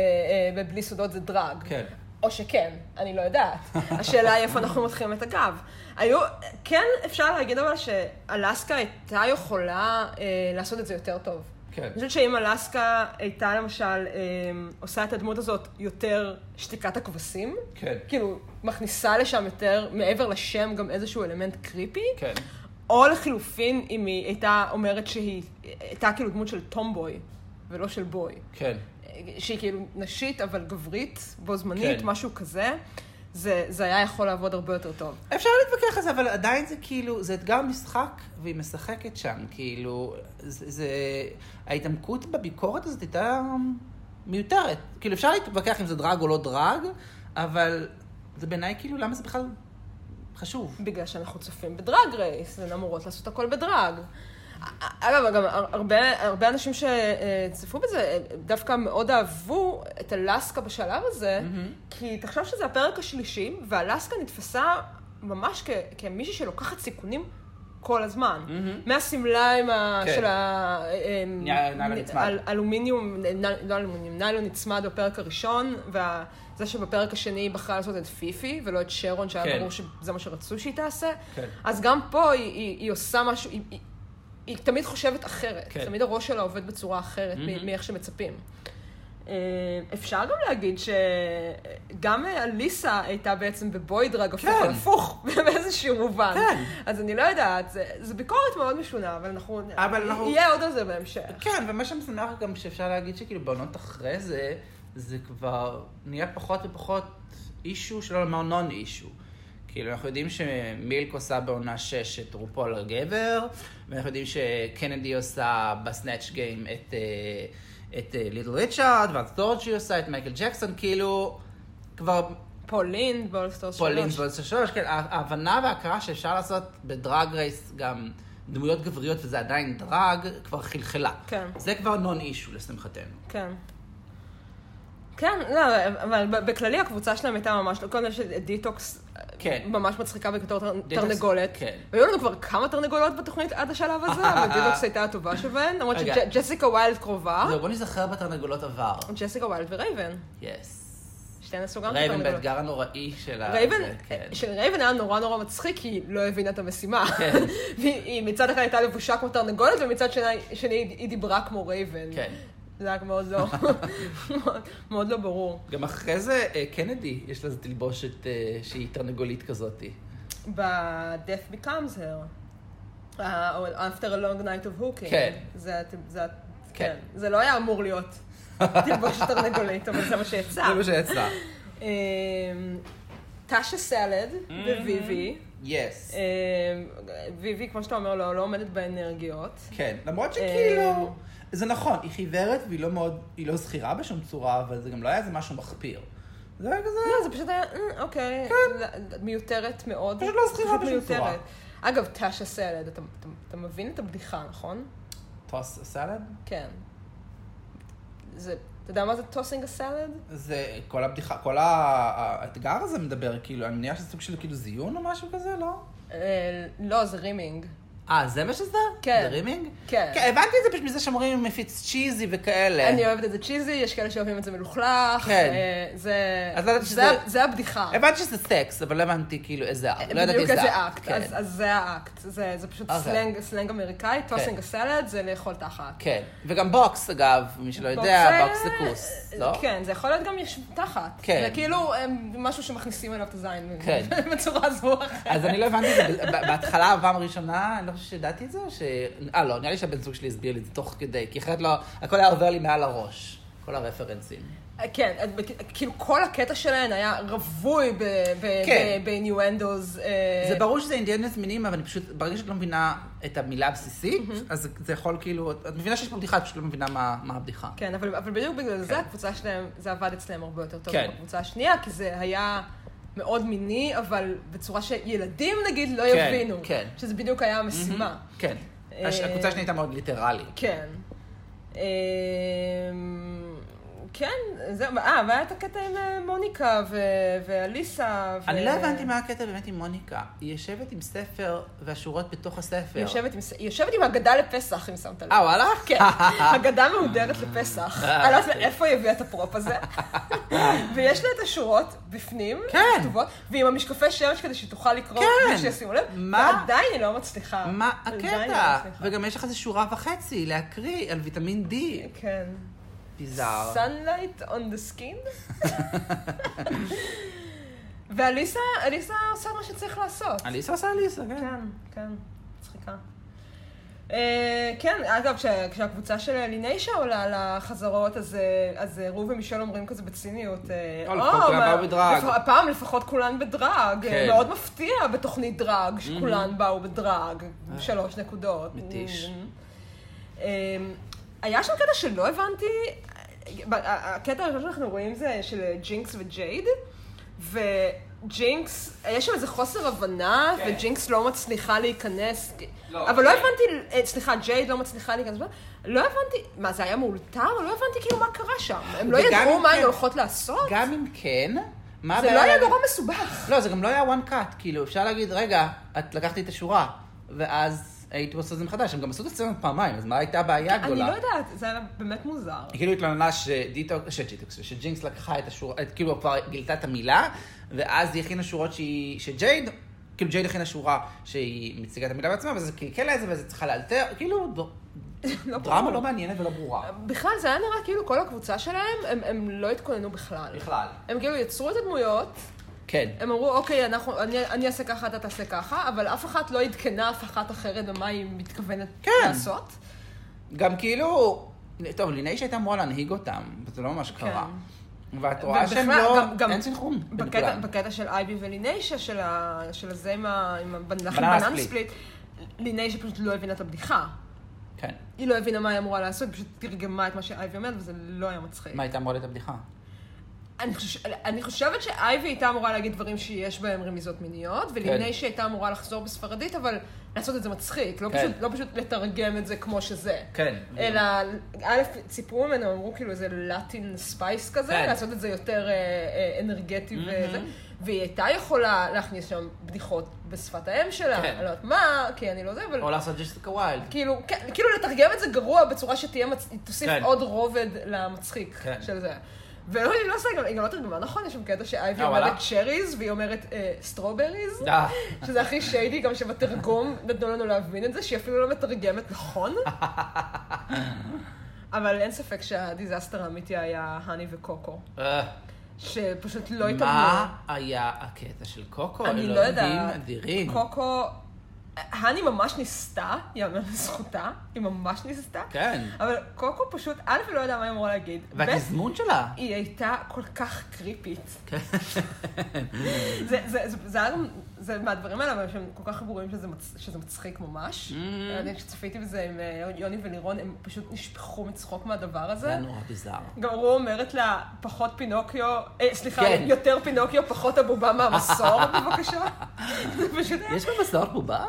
בבלי סודות זה דרג. כן. או שכן, אני לא יודעת. השאלה היא איפה אנחנו מתחילים את הקו. היו, כן אפשר להגיד אבל שאלסקה הייתה יכולה אה, לעשות את זה יותר טוב. כן. אני חושבת שאם אלסקה הייתה למשל אה, עושה את הדמות הזאת יותר שתיקת הכבשים, כן. כאילו מכניסה לשם יותר, מעבר לשם, גם איזשהו אלמנט קריפי, כן. או לחילופין, אם היא הייתה אומרת שהיא הייתה כאילו דמות של טומבוי, ולא של בוי. כן. שהיא כאילו נשית, אבל גברית, בו זמנית, כן. משהו כזה, זה, זה היה יכול לעבוד הרבה יותר טוב. אפשר להתווכח על זה, אבל עדיין זה כאילו, זה אתגר משחק, והיא משחקת שם, כאילו, זה, זה... ההתעמקות בביקורת הזאת הייתה מיותרת. כאילו, אפשר להתווכח אם זה דרג או לא דרג, אבל זה בעיניי כאילו, למה זה בכלל חשוב? בגלל שאנחנו צופים בדרג רייס, והן אמורות לעשות הכל בדרג. אגב, גם הר- הרבה, הרבה אנשים שצפו בזה אה, דווקא מאוד אהבו את אלסקה בשלב הזה, mm-hmm. כי תחשוב שזה הפרק השלישי, ואלסקה נתפסה ממש כ- כמישהי שלוקחת סיכונים כל הזמן. Mm-hmm. מהשמלה עם ה... כן. של ה... אה, נייר- נעל הנצמד. אל- אלומיניום, נ- לא אלומיניום, ניילון נצמד בפרק הראשון, וזה שבפרק השני היא בחרה לעשות את פיפי, ולא את כן. שרון, שהיה ברור שזה מה שרצו שהיא תעשה. כן. אז גם פה היא, היא, היא עושה משהו, היא, היא, היא תמיד חושבת אחרת. כן. תמיד הראש שלה עובד בצורה אחרת מהמם. mm-hmm. מאיך שמצפים. אה, אפשר גם להגיד שגם אה, אליסה הייתה בעצם בבוידרג הפוך כן. על הפוך, באיזשהו מובן. כן. אז אני לא יודעת, זה, זה ביקורת מאוד משונה, אבל אנחנו... אבל אנחנו- יהיה עוד על זה בהמשך. כן, ומה שמשמח גם שאפשר להגיד שכאילו בעונות אחרי זה, זה כבר נהיה פחות ופחות אישו, שלא לומר נון אישו. כאילו, אנחנו יודעים שמילק עושה בעונה 6 את רופול הגבר, ואנחנו יודעים שקנדי עושה בסנאצ' גיים את, אה, את אה, ליטל ריצ'ארד, ואז תורג'י עושה את מייקל ג'קסון, כאילו, כבר פולין, בולסטור שלוש. פולין בולסטר שלוש, כן, ה- ההבנה וההכרה שאפשר לעשות בדרג רייס גם דמויות גבריות, וזה עדיין דרג, כבר חלחלה. כן. זה כבר נון אישו, לשמחתנו. כן. כן, לא, אבל ב- בכללי הקבוצה שלהם הייתה ממש, לא- קודם יש את דיטוקס כן. ממש מצחיקה בתור תר- דיטוקס, תרנגולת. כן. והיו לנו כבר כמה תרנגולות בתוכנית עד השלב הזה, אבל דיטוקס הייתה הטובה שבהן, למרות רגע. לא. שג'סיקה ויילד קרובה, זהו, בוא נזכר בתרנגולות עבר. ג'סיקה ויילד ורייבן, יס. שתיהן עשו גם רייבן תרנגולות. באתגר הנוראי של ה... רייבן, זה, כן. של רייבן היה נורא נורא מצחיק, כי היא לא הבינה את המשימה. כן. והיא היא מצד אחד הייתה לבושה כמו תרנגולת, ומצד שני שני היא היא דיברה כמו רייבן. כן. זה היה מאוד לא, מאוד- מאוד לא ברור. גם אחרי זה, אה, קנדי, יש לה איזו תלבושת אה, שהיא תרנגולית כזאתי. ב-Death Becomes Her, אה, או After a Long Night of Hooking. כן. זה, זה, כן. כן. זה לא היה אמור להיות תלבושת תרנגולית, אבל זה מה שיצא. זה מה שיצא. אמ, טאשה סלד וויבי. יס. אמ, ויבי, כמו שאתה אומר, לא, לא עומדת באנרגיות. כן, למרות אה. שכאילו... זה נכון, היא חיוורת והיא לא מאוד... היא לא זכירה בשום צורה, אבל זה גם לא היה איזה משהו מחפיר. זה היה כזה... לא, זה פשוט היה, "אה, אוקיי, לא- מיותרת מאוד. כן. פשוט לא זכירה בשום מיותרת. צורה. אגב, טאשה סלד, אתה, אתה, אתה מבין את הבדיחה, נכון? טוס סלד? כן. זה, אתה יודע מה זה טוסינג הסלד? זה כל הבדיחה, כל ה- ה- האתגר הזה מדבר, כאילו, אני מניח שזה סוג של כאילו זיון או משהו כזה, לא? לא, זה רימינג. אה, זה מה שזה? כן. זה רימינג? כן. כן, הבנתי את זה פשוט מזה שאומרים מפיץ צ'יזי וכאלה. אני אוהבת את זה צ'יזי, יש כאלה שאוהבים את זה מלוכלך. כן. אה, זה... אז לא ידעתי זה שזה- ה- זה הבדיחה. הבנתי שזה סקס, אבל לא הבנתי כאילו איזה אקט. לא ידעתי בדיוק איזה אקט. איזה אקט. כן. כן. אז אז זה האקט. זה זה פשוט אוקיי. סלנג- סלנג אמריקאי, טוסינג הסלד זה לאכול תחת. כן. וגם בוקס, אגב, מי שלא יודע, בוקס זה כוס, לא? כן, זה יכול להיות גם יש תחת. כן. זה כאילו אה, משהו שמכניסים אליו את הזין. כן. בצורה זו או אחרת. אז אני לא הבנתי את זה, ב- בהתחלה, פעם ראשונה, אני לא חושבת שידעתי את זה, או ש... אה, לא, נראה לי שהבן זוג שלי הסביר לי את זה תוך כדי, כי אחרת לא, הכל היה עובר לי מעל הראש, כל הרפרנסים. כן, את- בכ- כאילו כל הקטע שלהן היה רווי ב- ב- כן. ב- באינואנדוז. אה, זה ברור שזה אינדיאנס מינים, אבל אני פשוט, ברגע שאת לא מבינה את המילה הבסיסית, Mm-hmm. אז זה יכול כאילו, את את מבינה שיש פה בדיחה, את פשוט לא מבינה מה- מה הבדיחה. כן, אבל, אבל בדיוק בגלל זה הקבוצה שלהם, זה עבד אצלם הרבה יותר טוב כן. מהקבוצה השנייה, כי זה היה מאוד מיני, אבל בצורה שילדים נגיד לא כן, יבינו. כן. שזה בדיוק היה המשימה. כן. הש- אה, הקבוצה השנייה הייתה מאוד ליטרלית. כן. אמ, כן, זהו, אה, והיה את הקטע עם אה, מוניקה ו- ואליסה. ו- אני לא הבנתי מה הקטע באמת עם מוניקה. היא יושבת עם ספר והשורות בתוך הספר. היא יושבת עם, ס- היא יושבת עם הגדה לפסח, אם שמת לב. אה, וואלה? כן, הגדה מהודרת לפסח. אה, אני לא יודעת אוקיי. מאיפה היא הביאה את הפרופ הזה. ויש לה את השורות בפנים, כן. כתובות, ועם המשקפי שמש כדי שהיא תוכל לקרוא, כן. בלי שישימו לב, מה? ועדיין היא לא מצליחה. מה עדיין היא לא הקטע? מצליחה. וגם יש לך איזה שורה וחצי להקריא על ויטמין D. כן. ביזאר. sunlight on the skin. ואליסה, אליסה עושה מה שצריך לעשות. אליסה עושה אליסה, כן. כן, כן, מצחיקה. אה, כן, אגב, כשה- כשהקבוצה של לינאישה עולה לחזרות, אז, אה, אז אה, רו ומישל אומרים כזה בציניות. אה, לא, לפחות כולם מה- באו בדרג." לפח- הפעם לפחות כולן בדרג. אה, כן. מאוד מפתיע בתוכנית דרג, שכולן באו בדרג. שלוש נקודות. אה. מתיש. אה, היה שם קטע שלא הבנתי, ב- ה- הקטע הראשון שאנחנו רואים זה של ג'ינקס וג'ייד, וג'ינקס, יש שם איזה חוסר הבנה, כן. וג'ינקס לא מצליחה להיכנס, לא, אבל לא ג'ייד. הבנתי, אה, סליחה, ג'ייד לא מצליחה להיכנס, לא הבנתי, מה זה היה מאולתר? לא הבנתי כאילו מה קרה שם, הם לא וגם ידעו אם מה כן- הן הולכות לעשות, גם אם כן, מה זה הבעיה לא היה להגיד- נורא מסובך. לא, זה גם לא היה one cut, כאילו, אפשר להגיד, רגע, את לקחת לי את השורה, ואז הייתי עושה את זה מחדש, הם גם עשו את הסצנות פעמיים, אז מה הייתה הבעיה אני הגדולה? לא יודעת, זה היה באמת מוזר. היא כאילו התלוננה שדיטוקס, שג'יטוקס, שג'ינקס לקחה את השורה, את- כאילו כבר גילתה את המילה, ואז היא הכינה שורות שהיא, שג'ייד, כאילו ג'ייד הכינה שורה שהיא מציגה את המילה בעצמה, וזה קלקל לה את זה, וזה צריכה לאלתר, כאילו, ד- לא דרמה ברור. לא מעניינת ולא ברורה. בכלל, זה היה נראה כאילו כל הקבוצה שלהם, הם, הם לא התכוננו בכלל. בכלל. הם כאילו יצרו את הדמויות, כן. הם אמרו, אוקיי, אנחנו, אני, אני אעשה ככה, אתה תעשה ככה, אבל אף אחת לא עדכנה אף אחת אחרת במה היא מתכוונת כן. לעשות. גם כאילו, טוב, לינאי שהייתה אמורה להנהיג אותם, וזה לא ממש קרה. ואת רואה שהם כן. ובכלל, לא, גם- גם אין סנכרון בין בקטע, כולם. בקטע של אייבי ולינאישה, של, ה, של הזה עם ה- עם הבנלחם בננה בננה ספליט. ספליט, לינאישה פשוט לא הבינה את הבדיחה. כן. היא לא הבינה מה היא אמורה לעשות, היא פשוט תרגמה את מה שאייבי אומרת, וזה לא היה מצחיק. מה הייתה אמורה להיות הבדיחה? אני, חוש... אני חושבת שאייבי הייתה אמורה להגיד דברים שיש בהם רמיזות מיניות, כן. ולינאי שהייתה אמורה לחזור בספרדית, אבל לעשות את זה מצחיק, לא, כן. פשוט, לא פשוט לתרגם את זה כמו שזה. כן. אלא, א', ציפו ממנו, אמרו כאילו איזה לטין ספייס כזה, כן. לעשות את זה יותר אה, אה, אנרגטי וזה, והיא הייתה יכולה להכניס שם בדיחות בשפת האם שלה, כן. אני לא יודעת מה, כי אני לא זה, אבל... או לעשות ג'סיקה ויילד. כאילו, כן, כאילו לתרגם את זה גרוע בצורה שתהיה, מצ... תוסיף כן. עוד רובד למצחיק כן. של זה. ולא, היא לא עושה, גם- היא גם לא תרגמה נכון, יש שם קטע שאייבי אה, וואלה? אומרת צ'ריז, והיא אומרת אה, סטרובריז, אה. שזה הכי שיידי, גם שבתרגום נתנו לנו להבין את זה, שהיא אפילו לא מתרגמת נכון. אבל אין ספק שהדיזסטר האמיתי היה האני וקוקו, אה. שפשוט לא התאמנו. מה היה הקטע של קוקו? אני לא אלוהים יודעת. אדירים. קוקו, האני ממש ניסתה, יאמר לזכותה, היא ממש ניסתה. כן. אבל קוקו פשוט, א', היא לא ידעה מה היא אמורה להגיד. ב', והתזמון שלה. היא הייתה כל כך קריפית. כן. זה, זה, זה, זה היה גם, זה מהדברים האלה, אבל שהם כל כך ברורים שזה, מצ, שזה מצחיק ממש. Mm. אני כשצפיתי בזה עם אה, יוני ולירון, הם פשוט נשפכו מצחוק מהדבר זה הזה. היה נורא ביזאר. גם רו אומרת לה, פחות פינוקיו, אה, סליחה, כן. יותר פינוקיו, פחות הבובה מהמסור, בבקשה. זה פשוט היה... יש גם מסעות בובה?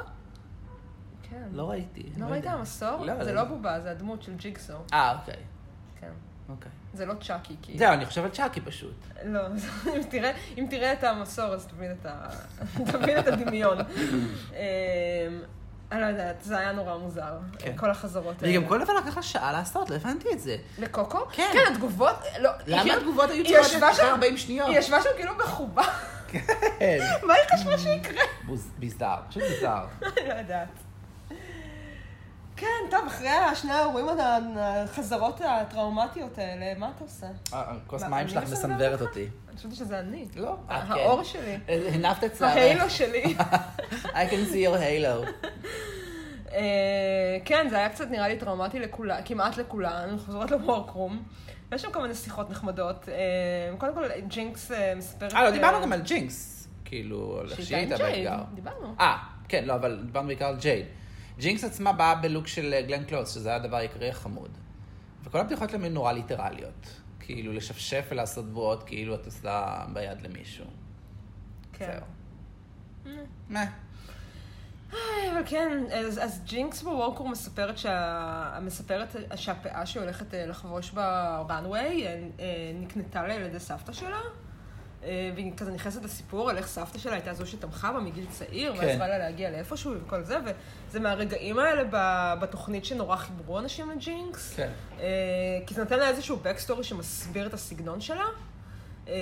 כן. לא ראיתי. אני לא ראית יודע. המסור? לא, זה לא. לא בובה, זה הדמות של ג'יגסו. אה, אוקיי. כן. אוקיי. זה לא צ'אקי, כי... זהו, אני חושבת צ'אקי פשוט. לא, אם תראה, אם תראה את המסור, אז תבין את, ה... תבין את הדמיון. אמ, אני לא יודעת, זה היה נורא מוזר, כן. כל החזרות והיא האלה. גם כל דבר לקח לה שעה לעשות, לא הבנתי את זה. לקוקו? כן. כן, התגובות, לא, למה היא- התגובות היו היא צריכות ישבה להיות אחרי שם- 40 שניות? היא ישבה שם כאילו בחובה. כן. מה היא חשבה שיקרה? בוז- ביזר, פשוט ביזר. אני לא יודעת. כן, טוב, אחרי השני האירועים, עוד החזרות הטראומטיות האלה, מה אתה עושה? אה, הכוס מה, מים אני שלך מסנוורת מסנוורת אותך? אותי. אני חשבתי שזה אני. לא, את כן. האור שלי. אה, הנפת את ההיילו שערך. שלי. I can see your halo. אה, כן, זה היה קצת נראה לי טראומטי לכולם, כמעט לכולן, אנחנו חוזרות לוורקרום. יש שם כל מיני שיחות נחמדות. אה, קודם כל, ג'ינקס אה, מספרת... אה, לא, דיברנו אה, גם על ג'ינקס. כאילו, על איך שהיא שהיא הייתה הייתה עם ג'ייד, באתגר. דיברנו. אה, כן, לא, אבל דיברנו בעיקר על ג'ייד. ג'ינקס עצמה באה בלוק של אה, גלן קלוס, שזה היה הדבר העיקרי החמוד. וכל הבדיחות להם הן נורא ליטרליות. כאילו, לשפשף ולעשות בועות, כאילו את עושה ביד למישהו. כן. זהו. מה? אה, אבל כן, אז, אז ג'ינקס בוורקור מספרת, שה... מספרת שהפאה שהיא הולכת אה, לחבוש ברנוויי אה, אה, נקנתה לה על ידי סבתא שלה. אה, והיא כזה נכנסת לסיפור על איך סבתא שלה הייתה זו שתמכה בה מגיל צעיר, כן. ועזרה לה להגיע לאיפשהו וכל זה, וזה מהרגעים האלה ב- בתוכנית שנורא חיברו אנשים לג'ינקס. כן. אה, כי זה נותן לה איזשהו backstory שמסביר את הסגנון שלה. אה,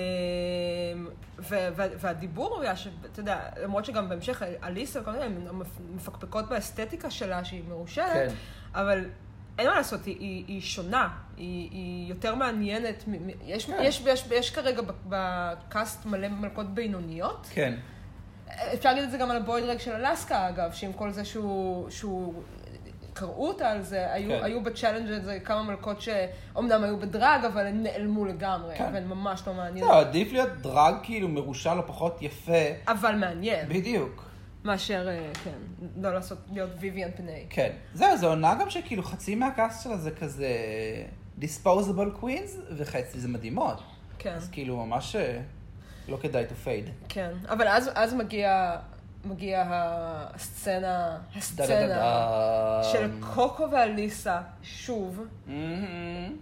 ו- וה- והדיבור היה, שאתה יודע, למרות שגם בהמשך אליסה וכל מיני, הן מפקפקות באסתטיקה שלה, שהיא מרושלת, כן. אבל אין מה לעשות, היא, היא, היא שונה, היא, היא יותר מעניינת, מ- מ- יש, כן. יש, יש, יש כרגע ב- בקאסט מלא מלכות בינוניות, כן. אפשר להגיד את זה גם על הבוידרג של אלסקה, אגב, שעם כל זה שהוא... שהוא... קראו אותה על זה, היו, כן. היו בצ'אלנג' הזה כמה מלכות שאומנם היו בדרג, אבל הן נעלמו לגמרי, כן. והן ממש לא מעניינות. לא, עדיף להיות דרג כאילו מרושל או פחות יפה. אבל מעניין, בדיוק. מאשר, אה, כן, לא לעשות, להיות ויויאן פני. כן. זהו, זו עונה גם שכאילו חצי מהקאסט שלה זה כזה disposable queens, וחצי זה מדהימות. כן, אז כאילו ממש אה, לא כדאי to fade. כן. אבל אז, אז מגיע, מגיע הסצנה, דה, דה, דה, הסצנה דה. של קוקו ואליסה, שוב, מהמם.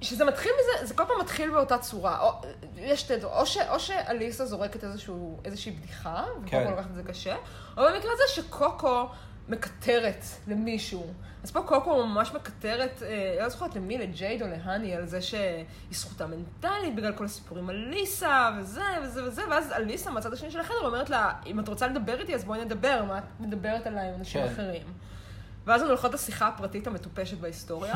שזה מתחיל מזה, זה כל פעם מתחיל באותה צורה. או, יש שתי דברים, או, ש- או שאליסה זורקת איזשהו, איזושהי בדיחה, כן. וקוקו לוקחת את זה קשה, או במקרה הזה שקוקו מקטרת למישהו. אז פה קוקו ממש מקטרת, אה, לא זוכרת למי, לג'ייד או להני, על זה שהיא זכותה מנטלית בגלל כל הסיפורים על ליסה, וזה וזה וזה, ואז אליסה מהצד השני של החדר אומרת לה, אם את רוצה לדבר איתי, אז בואי נדבר, מה את מדברת עליי עם אנשים כן. אחרים. ואז הן הולכות לשיחה הפרטית המטופשת בהיסטוריה.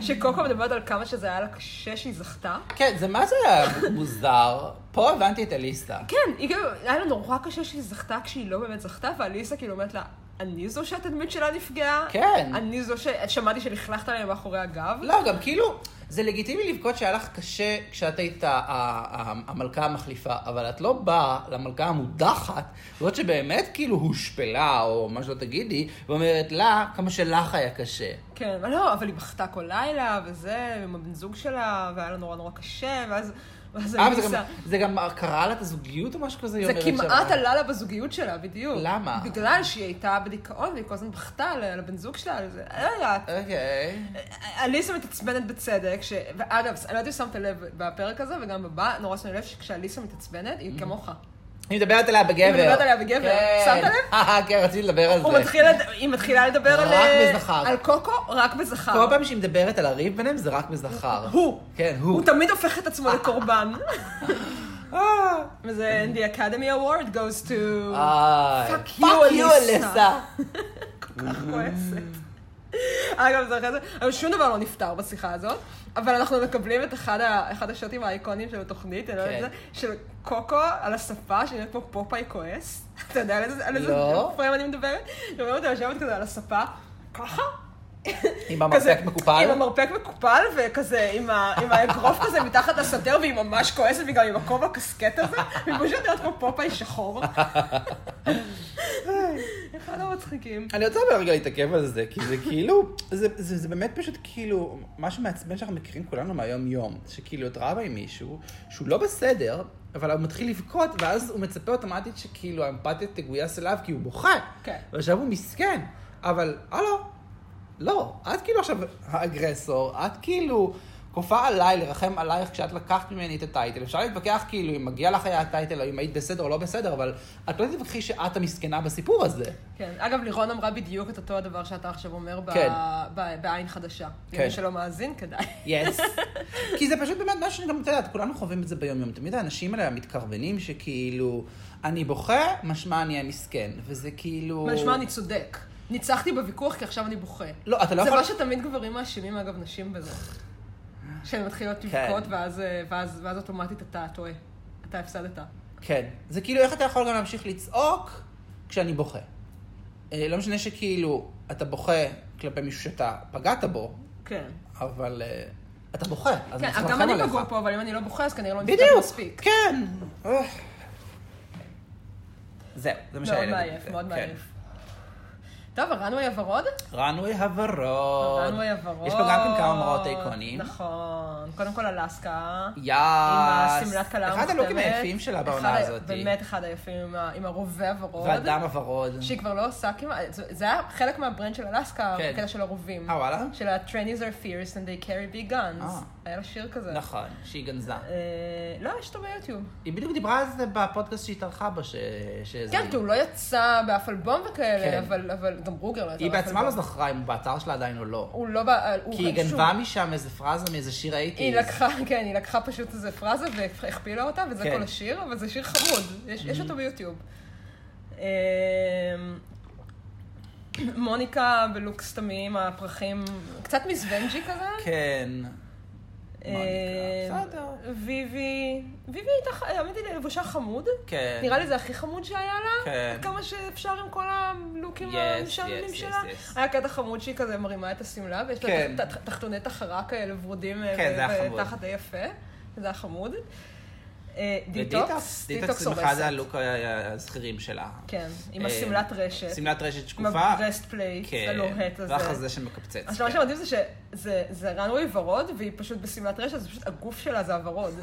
שקוקו מדברת על כמה שזה היה לה קשה שהיא זכתה. כן, זה מה זה היה מוזר? פה הבנתי את אליסה. כן, היא גם, היה לה נורא קשה שהיא זכתה כשהיא לא באמת זכתה, ואליסה כאילו אומרת לה, אני זו שהתדמית שלה נפגעה? כן. אני זו ששמעתי שלכלכת עליה מאחורי הגב? לא, גם כאילו, זה לגיטימי לבכות שהיה לך קשה כשאת היית ה- ה- המלכה המחליפה, אבל את לא באה למלכה המודחת, זאת שבאמת כאילו הושפלה, או מה שלא תגידי, ואומרת לה כמה שלך היה קשה. כן, אבל לא, אבל היא בכתה כל לילה, וזה, עם הבן זוג שלה, והיה לה נורא נורא קשה, ואז... ואז אה, וזה אליסה... גם- זה גם קרה לה את הזוגיות או משהו כזה? היא זה אומרת כמעט שלה. עלה לה בזוגיות שלה, בדיוק. למה? בגלל שהיא הייתה בדיכאון, והיא כל הזמן בכתה על על הבן זוג שלה, על זה. אני לא יודעת. אוקיי. אליסה מתעצבנת בצדק, ש... ואגב, אני לא יודעת אם שמת לב בפרק הזה וגם בבא, נורא שמתי לב שכשאליסה מתעצבנת, Mm. היא כמוך. אני מדברת עליה בגבר. אני מדברת עליה בגבר. כן. שמת לב? אה, כן, רציתי לדבר על זה. הוא מתחיל, לד- היא מתחילה לדבר על... רק אה, בזכר. על קוקו, רק בזכר. כל פעם שהיא מדברת על הריב ביניהם זה רק בזכר. הוא. כן, הוא. הוא תמיד הופך את עצמו לקורבן. אה. וזה, And the Academy Award goes to... איי. Fuck Fuck you, you, אליסה. אליסה. כל כך כועסת. אגב, זה אחרי זה, אבל שום דבר לא נפתר בשיחה הזאת, אבל אנחנו מקבלים את אחד, ה, אחד השוטים האיקונים של התוכנית, אני לא יודעת כן. את זה, של קוקו על השפה, שנראית כמו פופאי כועס. אתה יודע על איזה, על איזה לא. פריים אני מדברת? אני רואה אותה יושבת כזה על השפה, ככה? עם המרפק עם מקופל. המרפק מקופל, וכזה עם, ה, עם האגרוף כזה מתחת לסדר, והיא ממש כועסת, והיא גם עם הכובע הקסקט הזה, והיא פשוט נראית כמו פופאי שחור. אחד המצחיקים. אני רוצה רגע להתעכב על זה, כי זה כאילו, זה, זה, זה באמת פשוט כאילו, משהו מעצבן שאנחנו מכירים כולנו מהיום-יום, שכאילו את רבה עם מישהו, שהוא לא בסדר, אבל הוא מתחיל לבכות, ואז הוא מצפה אוטומטית שכאילו האמפתיה תגויס אליו, כי הוא בוכה. כן. ועכשיו הוא מסכן, אבל הלו, לא, את כאילו עכשיו האגרסור, את כאילו כופה עליי לרחם עלייך כשאת לקחת ממני את הטייטל. אפשר להתווכח כאילו אם מגיע לך היה הטייטל, או אם היית בסדר או לא בסדר, אבל את לא תתווכחי שאת המסכנה בסיפור הזה. כן. אגב, לירון אמרה בדיוק את אותו הדבר שאתה עכשיו אומר ב- כן. ב- בעין חדשה. כן. למי שלא מאזין, כדאי. יס. כי זה פשוט באמת מה שאני גם, את יודעת, כולנו חווים את זה ביום-יום. תמיד האנשים האלה המתקרבנים שכאילו, אני בוכה, משמע אני המסכן. וזה כאילו... אבל נשמע, אני צודק. ניצחתי בוויכוח כי עכשיו אני בוכה. לא, אתה לא זה יכול... מה שתמיד גברים מאשימים, אגב, נשים בזה. שהן מתחילות כן. לבכות, ואז, אה, ואז, ואז אוטומטית אתה טועה. אתה הפסדת. כן. זה כאילו, איך אתה יכול גם להמשיך לצעוק כשאני בוכה? אה, לא משנה שכאילו, אתה בוכה כלפי מישהו שאתה פגעת בו, כן. אבל אה, אתה בוכה, אז כן, אני צריך גם לרחם אני עליך. פגוע פה, אבל אם אני לא בוכה, אז כנראה לא נפגעתי בדיוק, מספיק. כן. אה. זהו, זה מה מאוד שהילד... לא, מעייף, מאוד כן. מעייף. טוב, הרנוי הוורוד? רנוי הוורוד. הרנוי הוורוד. יש פה גם כן כמה מראות איקונים. נכון. קודם כל אלסקה. יאס. עם השמלת כלה המוכתמת. אה, אחד הלוקים היפים שלה בעונה אחד- הזאת. באמת אחד היפים, עם ה- עם הרובה הוורוד. והדם הוורוד. אה, שהיא כבר לא עושה כמעט, זה זה היה חלק מהברנד של אלסקה, כן. הקטע של הרובים. אה, וואלה? של ה-Trainees are fierce and they carry big guns. אה. היה לה שיר כזה. נכון, שהיא גנזה. אה, לא, יש אותו ביוטיוב. היא בדיוק דיברה על זה בפודקאסט שהיא התארחה בו, ש... שזה... כן, כי הוא לא יצא באף אלבום וכאלה, כן. אבל- אבל גם ברוגר לא יצא היא באף בעצמה לא אלבום. זכרה אם הוא באתר שלה עדיין או לא. הוא לא... בא- הוא כי היא שוב, גנבה משם איזה פרזה מאיזה שיר היא האיטיז. לקחה, כן, היא לקחה פשוט איזה פרזה והכפילה אותה, וזה כן. Mm-hmm. כל השיר, אבל זה שיר חמוד, יש, יש אותו ביוטיוב. אמ, מוניקה בלוק סתמים, הפרחים, קצת מזוונג'י כזה. כן. מוניקה, אמ, בסדר. ויבי, ויבי הייתה, ח- האמת היא, לבושה חמוד. כן. נראה לי זה הכי חמוד שהיה לה, כן. עד כמה שאפשר עם כל הלוקים Yes, המשעממים yes, yes, שלה. yes. היה קטע חמוד שהיא כזה מרימה את השמלה, ויש לה כן. תח- תח- תחתוני תחרה כאלה ורודים, אה, כן, זה היה ו- חמוד. ותחת די יפה, זה היה חמוד. אה, ודיטוקס, דיטוקס, דיטוקס דיטוקס זה אחד הורסת. הלוק ה- הזכירים שלה. כן, אה, עם השמלת רשת, שמלת רשת עם שקופה. כן. הברסט פלייט הלוהט הזה. והחזה שמקפצץ. עכשיו, מה כן. שמדהים זה שזה רנווי ורוד, והיא פשוט בשמלת רשת, זה פשוט הגוף שלה זה הוורוד.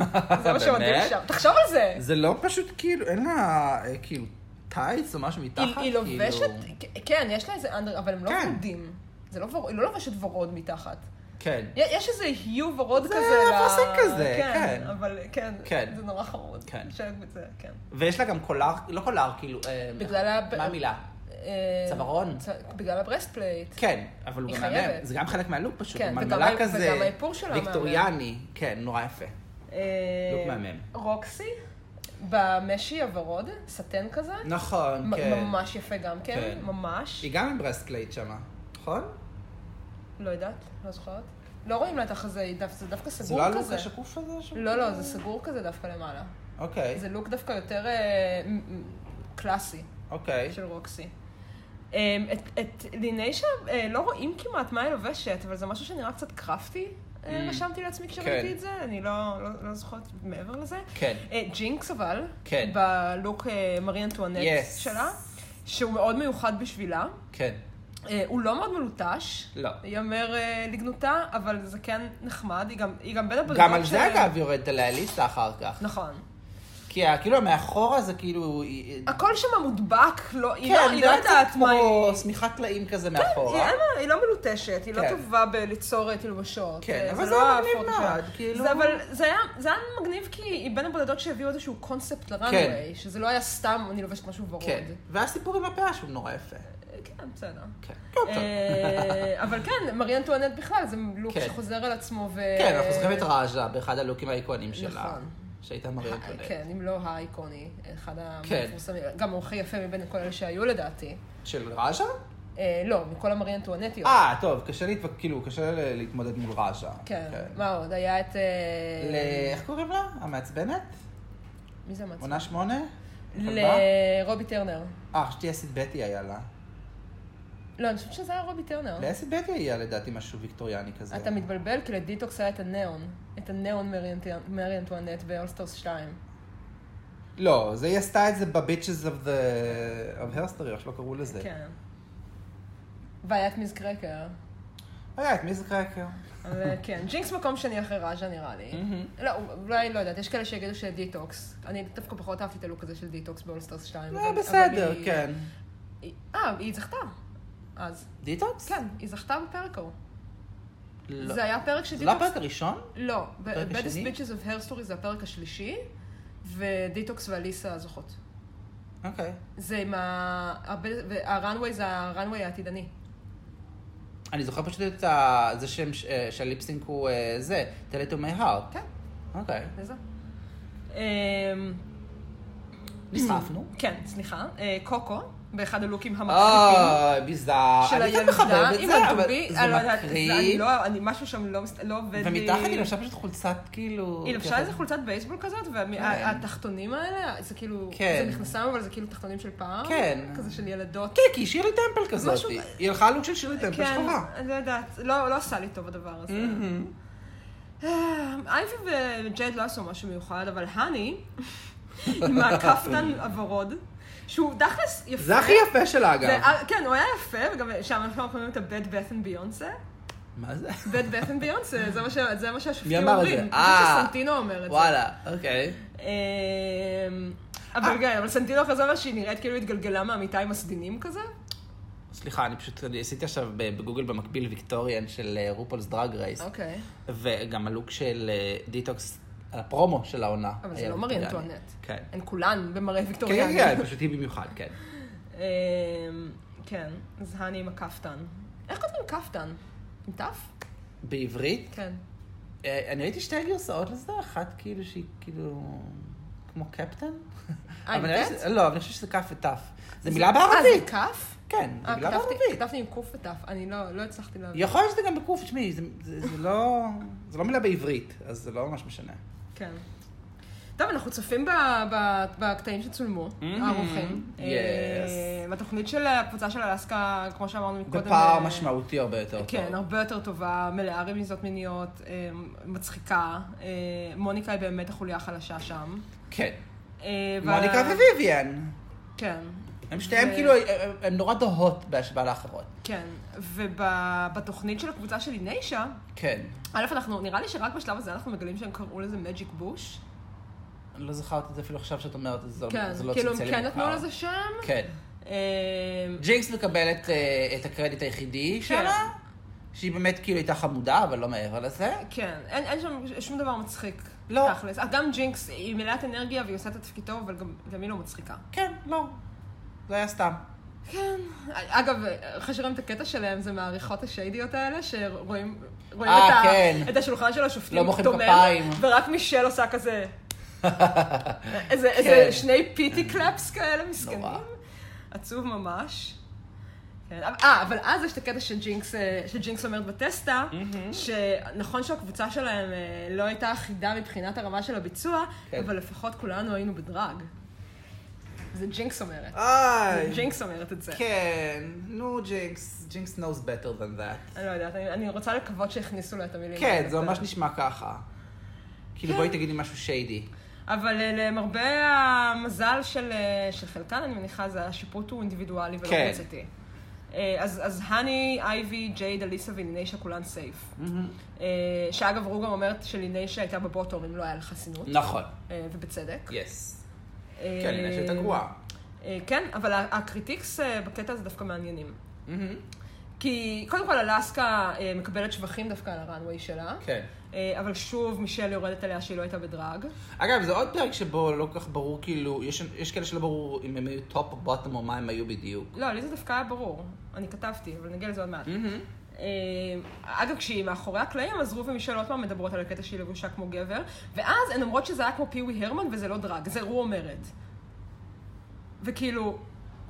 זה מה שמדהים באמת? שם. תחשוב על זה! זה לא פשוט כאילו, אין לה אה, כאילו טייץ או משהו מתחת? היא, היא כאילו- לובשת, כ- כן, יש לה איזה אנדר, אבל הם לא כן. ורודים. זה לא ורוד, היא לא לובשת ורוד מתחת. כן. י- יש איזה היו ורוד זה כזה. אפרסק כזה, כן. אבל כן, כן. זה נורא חמוד. כן. לשבת בזה, כן. ויש לה גם קולר, לא קולר, כאילו... אה, בגלל ה- מה המילה? אה, צווארון? צ- בגלל הברסטפלייט. כן, אבל הוא היא גם מהמם. חייבת. זה גם חלק מהלוק פשוט. כן, הוא וגם מלמלה ה- כזה. וגם האיפור שלה מהמם. ויקטוריאני. כן, נורא יפה. אה, לוק מהמם. רוקסי, במשי הוורוד, סטן כזה. נכון, מ- כן. ממש יפה גם כן, כן. ממש. היא גם עם ברסקלייט שמה, נכון? לא יודעת, לא זוכרת. לא רואים לה את החזה, היא דווקא- זה דווקא זה סגור לא הלוק כזה. השקוף הזה? ש- לא, לא, זה סגור כזה דווקא למעלה. אוקיי, זה לוק דווקא יותר אה, מ- מ- קלאסי אוקיי. של רוקסי. אה, את- את ליניישה אה, לא רואים כמעט מה היא לובשת, אבל זה משהו שנראה קצת קרפטי, אה, Mm. רשמתי לעצמי כן. כשראיתי את זה, אני לא לא- לא זוכרת מעבר לזה. כן. אה, ג'ינקס אבל, כן. בלוק אה, מרי אנטואנט Yes. שלה, שהוא מאוד מיוחד בשבילה. כן. אה, הוא לא מאוד מלוטש, לא. ייאמר אה, לגנותה, אבל זה כן נחמד, היא גם- היא גם בין הבודדות גם על זה אגב יורדת עליה ליסה אחר כך. נכון. כי ה- כאילו המאחורה זה כאילו... היא- הכל שם מודבק, לא, היא כן, לא, היא לא זה היה קצת יודעת מה היא... כן, כמו שמיכת טלאים כזה היא, מאחורה. אין מה, היא לא מלוטשת, היא כן. לא טובה בליצור תלבושות. כן, אה, אבל זה היה מגניב הפורט מאוד, שלה. כאילו- זה, אבל זה היה, זה היה מגניב כי היא בין הבודדות שהביאו איזשהו קונספט לראנוויי, שזה לא היה סתם אני לובשת משהו ורוד. כן. והסיפור עם הפאה שהוא נורא יפה. אה, כן, בסדר. כן. לא, טוב. אה, אבל כן, מרי אנטואנט בכלל, זה לוק כן. שחוזר על עצמו ו... כן, אנחנו זוכרים את ראז'ה באחד הלוקים האיקונים שלה. נכון. שהייתה מראה אה, קולט. כן, אם לא האיקוני, אחד כן. המפורסמים, גם הוא הכי יפה מבין כל אלה שהיו לדעתי. של ראז'ה? אה, לא, מכל המרי אנטואנטיות. אה, טוב, קשה להתווכח, כאילו, קשה ל- להתמודד מול ראז'ה. כן, מה עוד? היה את... אה, ל... איך קוראים לה? המעצבנת? מי זה המצב? עונה שמונה? הכלבה? לרובי טרנר. אה, חשבתי אסית בטי היה לה. לא, אני חושבת שזה היה רובי טרנר. לאסית בטי היה לדעתי משהו ויקטוריאני כזה. אתה מתבלבל, כי לדיטוקס היה את הנאון. את הנאון מרי אנט- מרי אנטואנט באולסטרס 2. לא, זה היא עשתה את זה בביצ'ס of the... of הרסטרי, איך שלא קראו לזה. כן. והיה את מיז קרקר. היה אה, את מי זה קרקר? אבל כן, ג'ינקס מקום שני אחרי ראז'ה נראה לי. מהמם. לא, אולי לא יודעת, יש כאלה שיגידו שדיטוקס. אני דווקא פחות אהבתי את לא, אה, הלוק הזה של דיטוקס באולסטרס 2. זה אבל- אבל בסדר, היא- כן. היא- אה, היא זכתה. אז. דיטוקס? כן, היא זכתה בפרק ההוא. לא. זה היה פרק זה לא שדיטוקס... הפרק הראשון? לא, ב- הפרק Baddest השני? Bitches of Hair Story זה הפרק השלישי, ודיטוקס ואליסה זוכות. אוקיי. זה עם ה... הראנווי זה הראנווי העתידני. אני זוכר פשוט את ה... זה שם ש- אה, שהליפסינק הוא אה, זה, tell it to my heart. כן. אוקיי. זה זה. אמ, נסחפנו. כן, סליחה. אה, קוקו, באחד הלוקים המקריפים. אוי, ביזאר. של אה, אני קצת הילדה מחבב את עם זה, אבל הדובי, זה אני לא יודעת, זה- אני מקריא. לא, אני משהו שם לא מס- לא עובד לי. ומתחת היא לבשה פשוט חולצת כאילו... היא לבשה ככה. איזה חולצת בייסבול כזאת, והתחתונים אה, האלה, זה כאילו, כן. זה נכנסם, אבל זה כאילו תחתונים של פעם. כן. כזה של ילדות. כן, כי היא שירלי טמפל כזאת. משהו- היא הלכה לוק של שירלי טמפל כן, שחורה. אני לא יודעת, לא לא עשה לי טוב הדבר הזה. מהמם. Mm-hmm. אה, אייבי וג'ייד לא עשו משהו מיוחד, אבל האני, עם הכפתן הוורוד, שהוא דחס יפה. זה הכי יפה שלה, אגב. זה- כן, הוא היה יפה, וגם שם אנחנו קוראים את ה-Bed Bath and Beyonce. מה זה? Bed Bath and Beyonce, זה מה ש- זה מה מי שהשופטים אמר את אומרים. זה? אני אה. חושבת שסנטינו אומר את זה. וואלה, אה. אוקיי. אמ, אבל כן, אבל סנטינו אחרי זה אומר שהיא נראית כאילו התגלגלה מהמיטה עם הסדינים כזה. סליחה, אני פשוט אני עשיתי עכשיו בגוגל במקביל ויקטוריאן של אה, רופולס דרג רייס. אוקיי. וגם הלוק של אה, דיטוקס, הפרומו של העונה. אבל זה היה לא מרי ויקטוריאני. אנטואנט. אה, כן. הן כולן במראה כן, כן, ויקטוריאני. כן, פשוט היא במיוחד, כן. אמ, כן, אז האני עם הכפתן. איך כותבים כפתן? עם תף? בעברית, כן. אה, אני ראיתי שתי גרסאות לזה, אחת כאילו שהיא כאילו... כמו קפטן? אה, עם אבל אני טט? חושב שזה- לא, אבל אני חושב שזה כף וטף. זה מילה בערבית. אה, זה כף? כן, זה אה, מילה כתבתי- בערבית. כתבתי עם קוף וטף, אני לא לא הצלחתי להבין. יכול להיות שזה גם בקוף, תשמעי, זה- זה זה לא... זה לא מילה בעברית, אז זה לא ממש משנה. כן. טוב, אנחנו צופים ב- ב- בקטעים שצולמו, Mhm. הערוכים. Yes. אה, בתוכנית של הקבוצה של אלסקה, כמו שאמרנו מקודם. בפער אה, משמעותי הרבה יותר טוב. כן, הרבה יותר טובה, מלאה רמיזות מיניות, אה, מצחיקה. אה, מוניקה היא באמת החוליה החלשה שם. כן. אה, וה- מוניקה וויביאן. כן, הם שתיהם ו- כאילו, הן נורא דוהות בהשוואה לאחרות. כן. ובתוכנית של הקבוצה של איניישה, כן. א', אנחנו, נראה לי שרק בשלב הזה אנחנו מגלים שהם קראו לזה מג'יק בוש. אני לא זכרת את זה אפילו עכשיו שאת אומרת, אז זה לא כן, זה לא כאילו הם צלצל לי כן מוכר. נתנו לזה שם. כן. אה, ג'ינקס מקבלת אה, את הקרדיט היחידי כן. שלה, שהיא באמת כאילו הייתה חמודה, אבל לא מעבר לזה. כן, אין, אין שם שום דבר מצחיק. לא. תכלס. אה, גם ג'ינקס היא מלאת אנרגיה והיא עושה את התפקיד טוב, אבל גם, גם היא לא מצחיקה. כן, לא. זה היה סתם. כן. אגב, אחרי שראינו את הקטע שלהם, זה מהעריכות השיידיות האלה, שרואים רואים אה, את, ה- כן. את השולחן של השופטים לא מוחאים כפיים. ורק מישל עושה כזה... איזה, איזה שני פיטי קלאפס כאלה מסכנים. כן. נורא. עצוב ממש. כן, אבל- אה, אבל אז יש את הקטע שג'ינקס, אה, שג'ינקס אומרת בטסטה, שנכון שהקבוצה שלהם אה, לא הייתה אחידה מבחינת הרמה של הביצוע, כן. אבל לפחות כולנו היינו בדרג. זה ג'ינקס אומרת. איי. ג'ינקס אומרת את זה. כן, נו ג'ינקס, ג'ינקס knows better than that. אני לא יודעת, אני, אני רוצה לקוות שהכניסו לו את המילים. כן, האלה. זה ממש נשמע ככה. כאילו בואי תגידי משהו שיידי. אבל אה, למרבה המזל של, אה, של חלקן, אני מניחה, זה השיפוט הוא אינדיבידואלי ולא כן. קבוצתי. אה, אז, אז הני, אייבי, ג'ייד, אליסה וליניישה כולן סייף. אה, שאגב, רו גם אומרת שליניישה הייתה בבוטום אם לא היה לה חסינות, נכון, אה, ובצדק. יס. אה, כן, אני חושבת גרועה. אה, כן, אבל ה- הקריטיקס אה, בקטע הזה דווקא מעניינים. מהמם. כי קודם כל אלסקה אה, מקבלת שבחים דווקא על הראנוויי שלה, כן. אה, אבל שוב מישל יורדת עליה שהיא לא הייתה בדרג. אגב, זה עוד פרק שבו לא כל כך ברור, כאילו, יש, יש כאלה שלא ברור אם הם היו טופ או בוטום או מה הם היו בדיוק. לא, לי זה דווקא היה ברור. אני כתבתי, אבל נגיע לזה עוד מעט. אה, אגב, כשהיא מאחורי הקלעים, אז רו ומישל עוד פעם מדברות על הקטע שהיא לבושה כמו גבר, ואז הן אומרות שזה היה כמו פיווי הרמן וזה לא דרג, זה רו אומרת. וכאילו,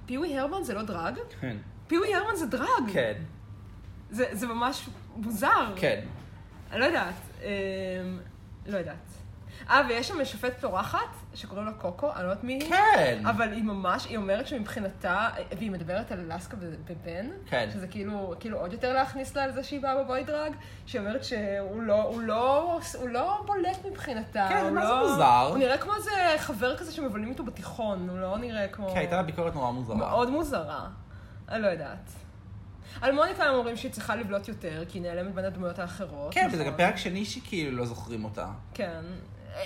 פיווי הרמן זה לא דרג? כן. פיווי הרמן זה דרג! כן. זה, זה ממש מוזר. כן. אני לא יודעת. אה, לא יודעת. אה, ויש שם שופט פורחת, שקוראים לה קוקו, אני לא יודעת מי היא. כן. אבל היא ממש, היא אומרת שמבחינתה, והיא מדברת על אלסקה ו- ובן, כן. שזה כאילו, כאילו עוד יותר להכניס לה על זה שהיא באה בבוי דרג, שהיא אומרת שהוא לא, הוא לא, הוא לא בולט מבחינתה. כן, הוא מה זה לא, מוזר? הוא נראה כמו איזה חבר כזה שמבלים איתו בתיכון, הוא לא נראה כמו... כן, הייתה לה ביקורת נורא מוזרה. מאוד מוזרה. אני לא יודעת. על מוניקה הם אומרים שהיא צריכה לבלוט יותר, כי היא נעלמת בין הדמויות האחרות. כן, וזה נכון. גם פרק שני שכאילו לא זוכרים אותה. כן.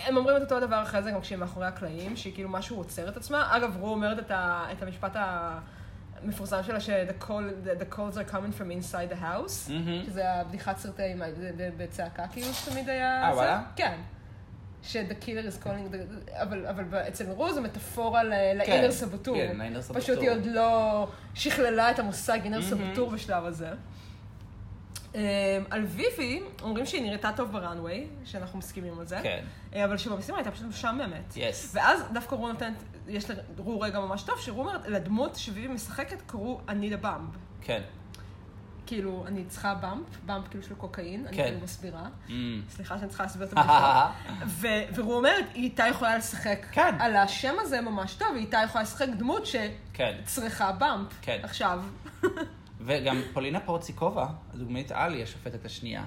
הם אומרים את אותו הדבר אחרי זה גם כשהיא מאחורי הקלעים, שהיא כאילו משהו עוצר את עצמה. אגב, רו אומרת את, ה, את המשפט ה, המפורסם שלה, ש-The call- the- the calls are coming from inside the house, מהמם. שזה הבדיחת סרטי עם ה- זה- זה- בצעקה כאילו שתמיד היה... אה, זה. וואלה? כן. ש-The killer is calling, the- אבל, אבל ב- אצל רו זו מטאפורה ל- כן, לאינר סבוטור. כן, לאינר סבוטור. פשוט היא עוד לא שכללה את המושג אינר Mm-hmm. סבוטור בשלב הזה. אמ, על ויבי, אומרים שהיא נראתה טוב בראנוויי, שאנחנו מסכימים על זה. כן. אה, אבל שבמשימה הייתה פשוט משעממת. Yes. ואז דווקא רו נותנת, יש לרו רגע ממש טוב, שרו אומרת, לדמות שביבי משחקת קראו אני לבאמב. כן. כאילו, אני צריכה באמפ, באמפ כאילו של קוקאין, אני כן. כאילו מסבירה. אמ. סליחה שאני צריכה להסביר את הבדיחה. ו- ורו אומרת, היא הייתה יכולה לשחק כן. על השם הזה ממש טוב, היא הייתה יכולה לשחק דמות כן. שצריכה באמפ. כן. עכשיו, וגם פולינה פורציקובה, הדוגמאית עלי, השופטת השנייה,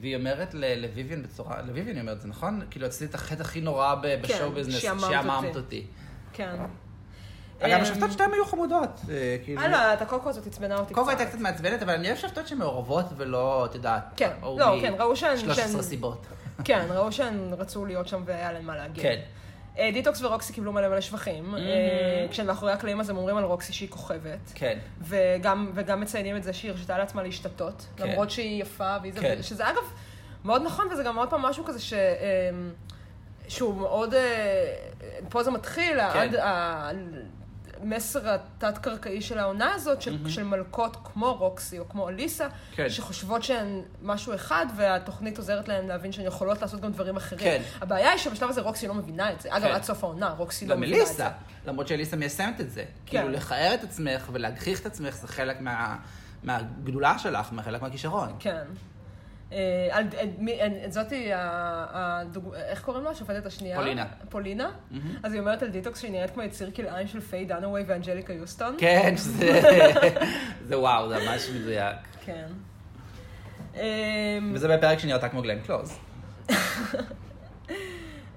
והיא אומרת ל- לוויביan בצורה, לוויביan היא אומרת, זה נכון? כאילו, עשיתי את החטא הכי נורא ב- כן, בשואו ביזנס, שאמרת שאמרת אותי. אותי. כן. גם אמ, השופטות שתיהן היו חמודות. אה, כאילו- אה, לא, את הקוקו הזאת עצבנה אותי קצת. קודם כל הייתה קצת מעצבנת, אבל אני אוהב שופטות שמעורבות ולא, את יודעת, כן, ראו לא, לי כן, ראו שהן- 13 שהן- סיבות. כן, ראו שהן רצו להיות שם והיה להן מה להגיד. כן. אה, דיטוקס ורוקסי קיבלו מלא מלא שבחים. אה, כשמאחורי הקלעים אז הם אומרים על רוקסי שהיא כוכבת. כן. וגם, וגם מציינים את זה שהיא הרשתה לעצמה להשתתות. כן. למרות שהיא יפה, והיא זה, כן. שזה אגב מאוד נכון, וזה גם עוד פעם משהו כזה ש... אה, שהוא מאוד... אה, פה זה כן. מתחיל, עד המסר התת-קרקעי של העונה הזאת, של, של מלכות כמו רוקסי או כמו אליסה, כן. שחושבות שהן משהו אחד, והתוכנית עוזרת להן להבין שהן יכולות לעשות גם דברים אחרים. כן. הבעיה היא שבשלב הזה רוקסי לא מבינה את זה. אגב, כן. עד סוף העונה, רוקסי לא גם מבינה את זה. כן. אליסה, למרות שאליסה מיישמת את זה. כאילו, לכער את עצמך ולהגחיך את עצמך זה חלק מה- מהגדולה שלך, חלק מהכישרון. כן. אה, על, אה, מי- אה, זאתי, ה- הדוג- איך קוראים לה? השופטת השנייה? פולינה. פולינה? אז היא אומרת על דיטוקס שהיא נראית כמו יציר כלאיים של פיי דנווי ואנג'ליקה יוסטון. כן, שזה... זה וואו, זה ממש מדויק. כן. אמ, וזה בפרק שנראתה כמו גלן קלוז.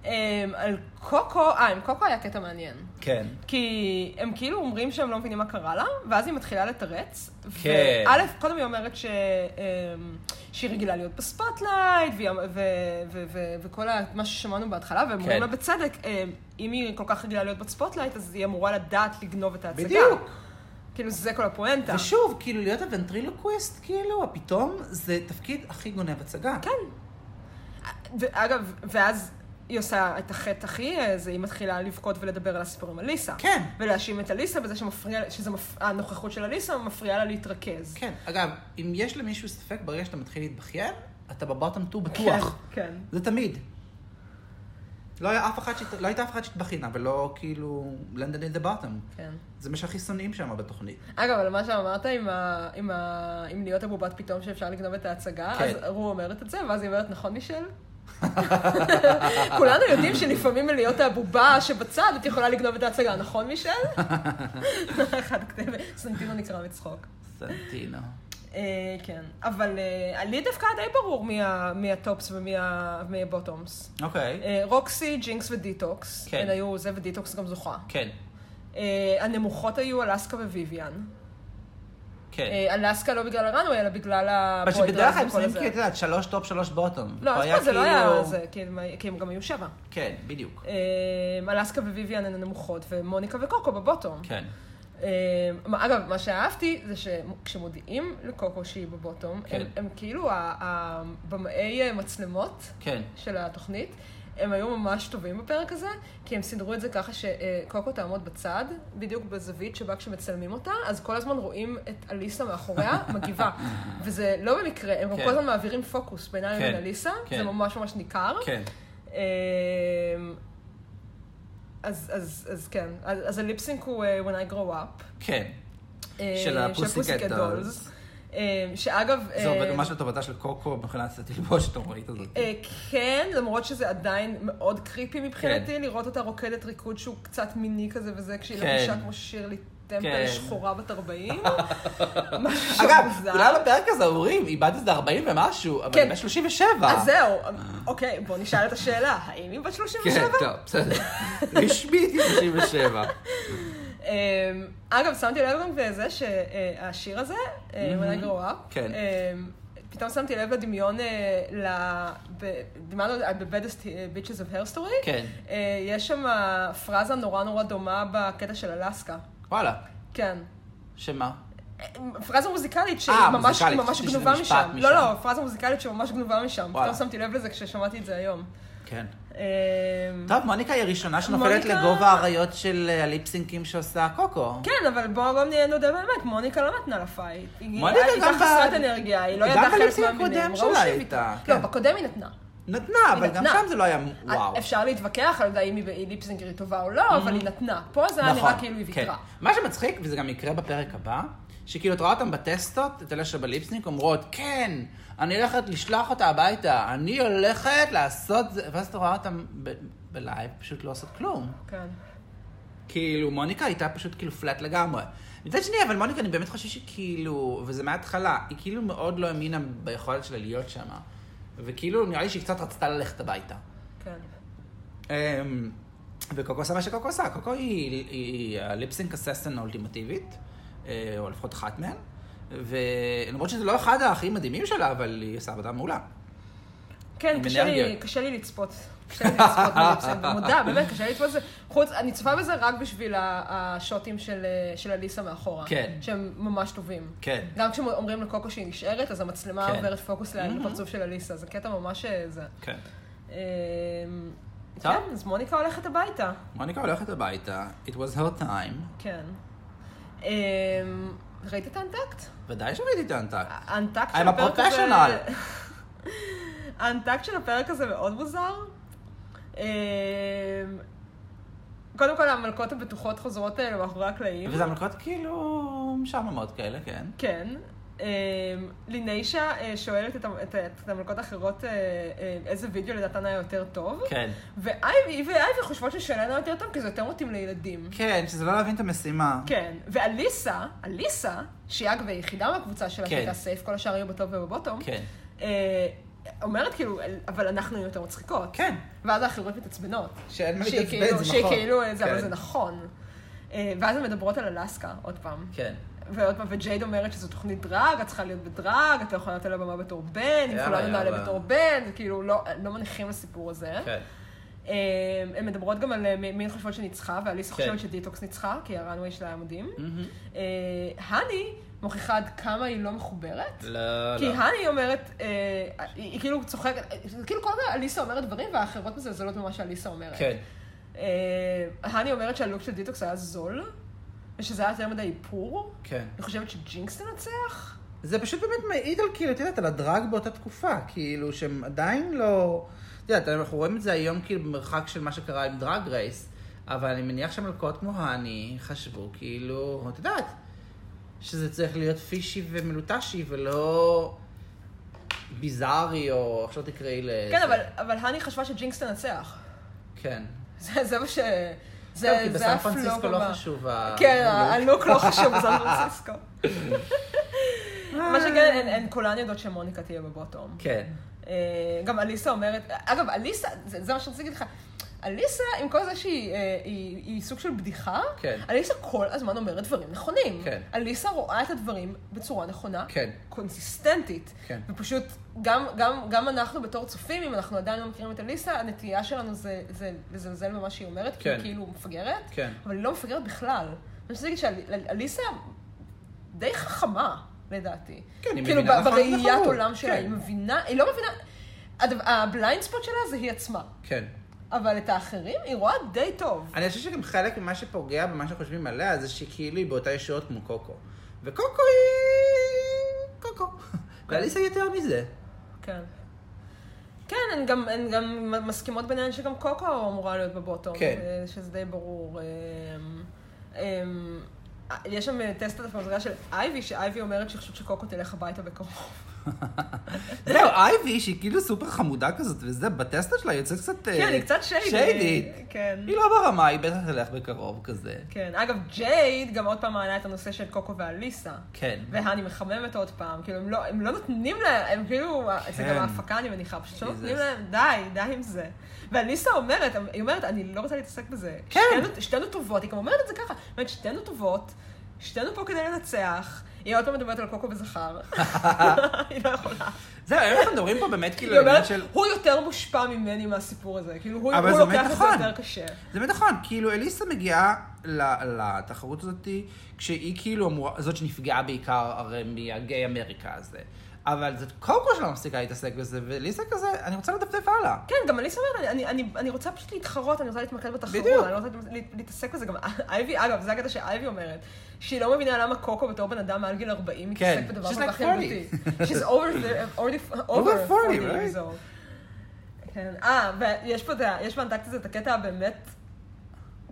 אמ, על קוקו, אה, עם קוקו היה קטע מעניין. כן. כי הם כאילו אומרים שהם לא מבינים מה קרה לה, ואז היא מתחילה לתרץ. כן. וא', קודם היא אומרת ש... אמ, שהיא רגילה להיות בספוטלייט, והיא- אמ, ו- ו- ו- ו- וכל ה- מה ששמענו בהתחלה, והם אומרים כן. לה בצדק, אמ, אם היא כל כך רגילה להיות בספוטלייט, אז היא אמורה לדעת לגנוב את ההצגה. בדיוק. כאילו, זה כל הפואנטה. ושוב, כאילו, להיות הוונטרילוקוויסט, כאילו, פתאום זה תפקיד הכי גונב הצגה. כן. אגב, ואז היא עושה את החטא הכי, אה, זה היא מתחילה לבכות ולדבר על הסיפור עם אליסה. כן. ולהאשים את אליסה בזה שמפריע, שזה מפ... הנוכחות של אליסה מפריעה לה להתרכז. כן. אגב, אם יש למישהו ספק, ברגע שאתה מתחיל להתבכיין, אתה בבוטום 2 בטוח. כן, כן. זה תמיד. לא, היה אף אחת שהת- לא הייתה אף אחת שהתבכיינה, ולא כאילו לנדון אין דה בוטום. כן. זה מה שהכי שונאים שם בתוכנית. אגב, על מה שאמרת עם, ה... עם, ה... עם להיות הבובת פתאום שאפשר לגנוב את ההצגה, כן. אז רו אומרת את זה, ואז היא אומרת, נכון, מישל? כולנו יודעים שלפעמים מלהיות הבובה שבצד, את יכולה לגנוב את ההצגה, נכון, מישל? אחד כתב, סנטינו נקרע מצחוק. סנטינו. אה, כן, אבל אה, לי דווקא היה די ברור מי ה- מי הטופס ומי ה- מי הבוטומס. אוקיי. אה, רוקסי, ג'ינקס ודיטוקס. כן. כן. הן היו זה ודיטוקס גם זוכה. כן. אה, הנמוכות היו אלסקה וויביאן. כן. אה, אלסקה לא בגלל הרנוי, אלא בגלל אבל הפויט שבדרך ראנס כלל הם וכל שמים כאילו, את הזה. יודעת, שלוש טופ, שלוש בוטום. לא, פה אז פה זה לא היה כאילו- זה, כי הם- כי הם גם היו שבע. כן, בדיוק. אה, אלסקה וויביאן הן הנמוכות, ומוניקה וקוקו בבוטום. כן. אה, מה- אגב, מה שאהבתי זה שכשמודיעים לקוקו שהיא בבוטום, כן. הם, הם כאילו ה- ה- במאי אה, מצלמות כן. של התוכנית, הם היו ממש טובים בפרק הזה, כי הם סידרו את זה ככה שקוקו תעמוד בצד, בדיוק בזווית שבה כשמצלמים אותה, אז כל הזמן רואים את אליסה מאחוריה מגיבה. וזה לא במקרה, הם גם כן. כל הזמן מעבירים פוקוס בינה לבין כן, אליסה, כן. זה ממש ממש ניכר. כן. אמ, אז, אז, אז כן, אז, אז הליפסינק הוא אה, When I Grow Up. כן. אה, של הפוסיקט הפוסיקט דולס. דולס. אה, שאגב... זה אה, עובד ממש לטובתה של קוקו מבחינת התלבושת המורית הזאת. אה, כן, למרות שזה עדיין מאוד קריפי מבחינתי, לראות אותה רוקדת ריקוד שהוא קצת מיני כזה וזה, כשהיא כן. לבושה כמו שירלי כן. טמפל שחורה בת 40. משהו שהוא אגב, מוזר. כולם בפרק הזה אומרים, איבדת איזה 40 ומשהו, אבל לא, כן. היא בת 37. אז זהו, אוקיי, בוא נשאל את השאלה, האם היא בת 37? כן, טוב, בסדר. רשמית היא 37. אמ, אגב, שמתי לב גם בזה שהשיר הזה, אה, When I Grow Up, כן. אמ, פתאום שמתי לב לדמיון, אה, ל- ב- דיברנו על The Baddest אה, Bitches of Hair Story, כן. אה, יש שם פרזה נורא נורא דומה בקטע של אלסקה, וואלה. כן. שמה? פרזה מוזיקלית שהיא אה, ממש, מוזיקלית, ממש חשבתי שזה גנובה משפט משם. משם. לא, לא, פרזה מוזיקלית שממש גנובה משם. וואלה. פתאום שמתי לב לזה כששמעתי את זה היום. כן. אמ, טוב, מוניקה היא הראשונה שנופלת מוניקה- לגובה האריות של אה, הליפסינקים שעושה קוקו. כן, אבל בואו גם נהיה- נודה באמת, מוניקה לא נתנה לה פייט. היא מוניקה הייתה גם ב- חסרת אנרגיה, היא לא גם ידעה חלק בליפסינג מהמינים. הקודם ראו שלה שהיא הייתה, לא, כן. בקודם היא נתנה. נתנה, אבל גם נתנה. אה, שם זה לא היה וואו. Mm-hmm. אפשר להתווכח על האם היא- היא ליפסינגר היא טובה או לא, אבל היא נתנה. פה זה היה נראה כאילו היא כן. ויתרה. נכון, מה שמצחיק, וזה גם יקרה בפרק הבא, שכאילו את רואה אותם בטסטות, את אלה שבליפסניק אומרות, כן, אני הולכת לשלוח אותה הביתה, אני הולכת לעשות זה, ואז את רואה אותם ב- בלייב, פשוט לא עושות כלום. כן. כאילו, מוניקה הייתה פשוט כאילו פלט לגמרי. מצד שני, אבל מוניקה, אני באמת חושב שכאילו, וזה מההתחלה, היא כאילו מאוד לא האמינה ביכולת שלה להיות שם, וכאילו, נראה לי שהיא קצת רצתה ללכת הביתה. כן. אמ, וקוקו עושה מה שקוקו עושה, אה, קוקו היא- היא הליפסינק אססן האולטימטיבית, אה, או לפחות אחת מהן, ולמרות שזה לא אחד הכי מדהימים שלה, אבל היא עושה עבודה מעולה. כן, עם קשה לי, אנרגיה. קשה לי לצפות. קשה לי לצפות בליפסינג, מודה, באמת, קשה לי לצפות בזה. חוץ, אני צופה בזה רק בשביל ה- השוטים של, אה, של אליסה מאחורה. כן. שהם ממש טובים. כן. גם כשאומרים לקוקו שהיא נשארת, אז המצלמה כן. עוברת פוקוס ל- לפרצוף של אליסה. זה קטע ממש אה, זה. כן. אמ, טוב. כן, אז מוניקה הולכת הביתה. מוניקה הולכת הביתה, it was her time, כן. אמ, ראית את האנטקט? ודאי שראיתי את האנטק. האנטקט I'm של a הפרק הזה... professional. האנטקט של הפרק הזה מאוד מוזר. אמ, קודם כל, המלכות הבטוחות חוזרות האלה מאחורי הקלעים. וזה המלכות כאילו משעממות כאלה, כן. כן. אמ, לינישה אה, שואלת את ה- את ה- את המלכות האחרות אה, אה, איזה וידאו לדעתן היה יותר טוב. כן. ואייבי ואייבי חושבות ששלנו יותר טוב, כי זה יותר מתאים לילדים. כן, שזה לא להבין את המשימה. כן, ואליסה, אליסה, שהיא אגב היחידה מהקבוצה שלה כן. שהייתה סייף, כל השאר היו בטופ ובבוטום, כן. אה, אומרת כאילו, "אל- אבל אנחנו נהיו יותר מצחיקות. כן. ואז האחרות מתעצבנות. שאין מה שהיא להתעצבן, כאילו- זה שהיא נכון. כאילו, אה, זה, אבל כן. זה נכון. אה, ואז הן מדברות על אלסקה, עוד פעם. כן. ועוד פעם, וג'ייד אומרת שזו תוכנית דרג, את צריכה להיות בדרג, את לא יכולה להיות על הבמה בתור בן, אם לא יאללה, כולנו נעלה יאללה. בתור בן, זה כאילו לא לא מניחים לסיפור הזה. כן. אה, הן מדברות גם על אה, מי מי הן חושבות שניצחה, ואליסה כן. חושבת שדיטוקס ניצחה, כי הראנווי שלה היה מדהים. מהמם. אה, האני מוכיחה עד כמה היא לא מחוברת. לא, כי לא. האני אומרת, אה, היא היא כאילו צוחקת, זה כאילו כל הזמן אליסה אומרת דברים והאחרות מזלזלות במה שאליסה אומרת. כן. אה, האני אומרת שהלוק של דיטוקס היה זול, ושזה היה יותר מדי איפור. כן. אני חושבת שג'ינקס תנצח. זה פשוט באמת מעיד על כאילו, את יודעת, על הדרג באותה תקופה, כאילו, שהם עדיין לא... את יודעת, אנחנו רואים את זה היום כאילו במרחק של מה שקרה עם דרג רייס, אבל אני מניח שמלכות כמו האני חשבו כאילו, את יודעת, שזה צריך להיות פישי ומלוטשי ולא ביזארי או עכשיו תקראי ל... כן, אבל- אבל האני חשבה שג'ינקס תנצח. כן. זה זה מה ש... זהו, כן, כי זה בסן הפלוג פרנסיסקו לא הבא. חשוב. אה, ה- כן, הלוק. הלוק לא חשוב בסן פרנסיסקו. מה שכן, הן- הן כולן יודעות שמוניקה תהיה בבוטום. כן. אה, גם אליסה אומרת, אגב, אליסה, זה, זה מה שרציתי להגיד לך. אליסה, עם כל זה שהיא אה, היא, היא סוג של בדיחה, כן. אליסה כל הזמן אומרת דברים נכונים. כן. אליסה רואה את הדברים בצורה נכונה, כן. קונסיסטנטית. כן. ופשוט, גם, גם, גם אנחנו בתור צופים, אם אנחנו עדיין לא מכירים את אליסה, הנטייה שלנו זה, זה לזלזל במה שהיא אומרת, כי היא כן. כאילו מפגרת, כן. אבל היא לא מפגרת בכלל. אני רוצה להגיד שאליסה די חכמה, לדעתי. כן, היא כאילו, מבינה ב- נכון, בראיית נכון. עולם שלה, כן. היא מבינה, היא לא מבינה, הדבר- הבליינד ספוט שלה זה היא עצמה, כן. אבל את האחרים היא רואה די טוב. אני חושב שגם חלק ממה שפוגע במה שחושבים עליה, זה שכאילו היא באותה ישורת כמו קוקו. וקוקו היא... קוקו. ואליסה יותר מזה. כן. כן, הן גם, הן גם מסכימות ביניהן שגם קוקו אמורה להיות בבוטום, כן. אה, שזה די ברור. אה, אה, אה, יש שם אה, טסט הפרזריה של אייבי, שאייבי אומרת שחושבת שקוקו תלך הביתה בקרוב. זהו, אייבי, שהיא כאילו סופר חמודה כזאת, וזה, בטסטה שלה יוצאת קצת... אה, כן, היא קצת שיידית. שיידית. כן. היא לא ברמה, היא בטח תלך בקרוב כזה. כן. אגב, ג'ייד גם עוד פעם מעלה את הנושא של קוקו ואליסה. כן. והני מחממת עוד פעם, כאילו, הם לא, הם לא נותנים להם, הם כאילו, זה כן. גם ההפקה, אני מניחה, פשוט לא Jesus. נותנים להם, די, די עם זה. ואליסה אומרת, היא אומרת, אני לא רוצה להתעסק בזה. כן. שתינו, שתינו טובות, היא גם אומרת את זה ככה, היא אומרת, שתינו טובות, שתינו פה כדי לנצח. היא עוד פעם מדברת על קוקו וזכר. היא לא יכולה. זהו, היום אנחנו מדברים פה באמת כאילו היא אומרת, עניין של... הוא יותר מושפע ממני מהסיפור הזה, כאילו הוא אבל הוא זה לוקח את זה נכון. יותר קשה. זה באמת נכון, כאילו אליסה מגיעה ל- לתחרות הזאת כשהיא כאילו אמורה, זאת שנפגעה בעיקר הרי מהגיי אמריקה הזה. אבל זאת קודם כל שלא מפסיקה להתעסק בזה, ואליסה כזה, אני רוצה לדפדף הלאה. כן, גם אליס אומרת, אני, אני, אני רוצה פשוט להתחרות, אני רוצה להתמקד בתחרות, בדיוק. אני לא רוצה להת- להתעסק בזה. גם אייבי, אגב, זה הקטע שאייבי אומרת, שהיא לא מבינה למה קוקו בתור בן אדם מעל גיל 40 כן. מתעסק בדבר She's כל like כך ילדותי. She's over, the, already, over, Over 40, 40 years right? old. כן, אה, ויש פה, את ה- יש באנטקט הזה את הקטע הבאמת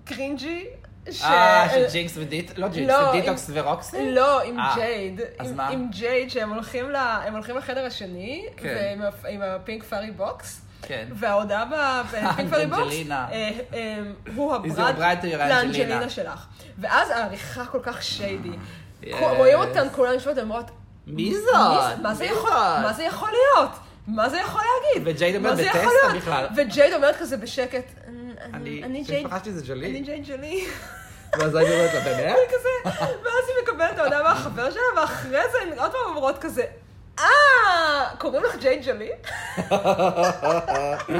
קרינג'י, ש... אה, של ג'ינקס ודיט, לא ג'ינקס, לא, זה דיטוקס ורוקסי? לא, עם אה, ג'ייד. אז עם- מה? עם ג'ייד, שהם הולכים ל- הם הולכים לחדר השני, כן. ועם ה- עם הפינק פארי בוקס. כן. וההודעה ב- בפינק פארי בוקס, אנג'לינה. אה, אה, הוא Is your bride הברד to your לאנג'לינה Angelina. שלך. ואז העריכה כל כך שיידי. Yes. כל- רואים אותן כולן יושבות ואומרות, מי "מי זה- זאת? מה זה מי יכול- זאת?" מה זה יכול להיות? מה זה יכול להגיד? וג'ייד מה אומרת זה יכול בטסטה להיות?" בכלל. וג'ייד אומרת כזה בשקט, "אני- אני אני, ג'ייד שפחשתי זה אני ג'לי. ג'ייד ג'לי. ואז הייתי אומרת לה, באמת? אני כזה, ואז היא מקבלת את ההודעה מהחבר שלה, ואחרי זה הן עוד פעם אומרות כזה, אה, קוראים לך ג'יי ג'לי? אחי,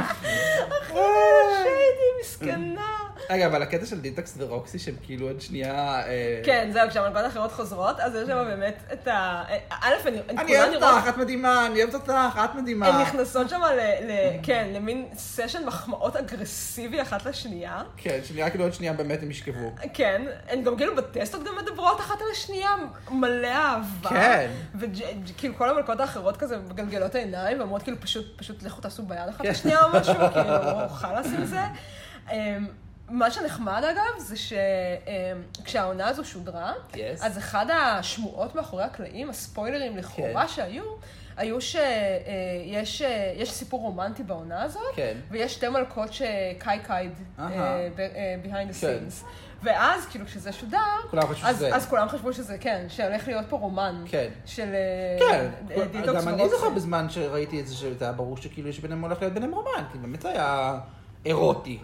שיידי, מסכנה. רגע, אבל הקטע של דיטוקס ורוקסי, שהם כאילו עוד שנייה... אה, כן, זהו, כשהמלכות האחרות חוזרות, אז יש שם באמת את ה... א', הן- הן אני כולן אוהבת נראות... אותך, את מדהימה, אני אוהבת אותך, את מדהימה. הן נכנסות שם ל... ל- כן, למין סשן מחמאות אגרסיבי אחת לשנייה. כן, שנראה כאילו עוד שנייה באמת הם ישכבו. כן, הן גם כאילו בטסטות גם מדברות אחת על השנייה, מלא אהבה. כן. וכאילו כל המלכות האחרות כזה מגלגלות עיניים, ואומרות כאילו פשוט, פשוט לכו תעשו ביד כן. אחת לשנייה או משהו, כאילו, חלאס עם זה. אמ, מה שנחמד אגב, זה שכשהעונה הזו שודרה, Yes. אז אחד השמועות מאחורי הקלעים, הספוילרים לכאורה כן. שהיו, היו אה, שיש אה, סיפור רומנטי בעונה הזאת, כן. ויש שתי מלכות שקאי קייד, אהה. אה, ב- אה, behind the כן. scenes. ואז, כאילו, כשזה שודר, כולם חשבו אז- שזה. אז כולם חשבו שזה, כן, שהולך להיות פה רומן. כן. של אה, כן, אה, דיטוקס גם אני ורוקסי. זוכר בזמן שראיתי את זה, שזה היה ברור שכאילו יש ביניהם הולך להיות ביניהם רומן, כי באמת זה היה אירוטי.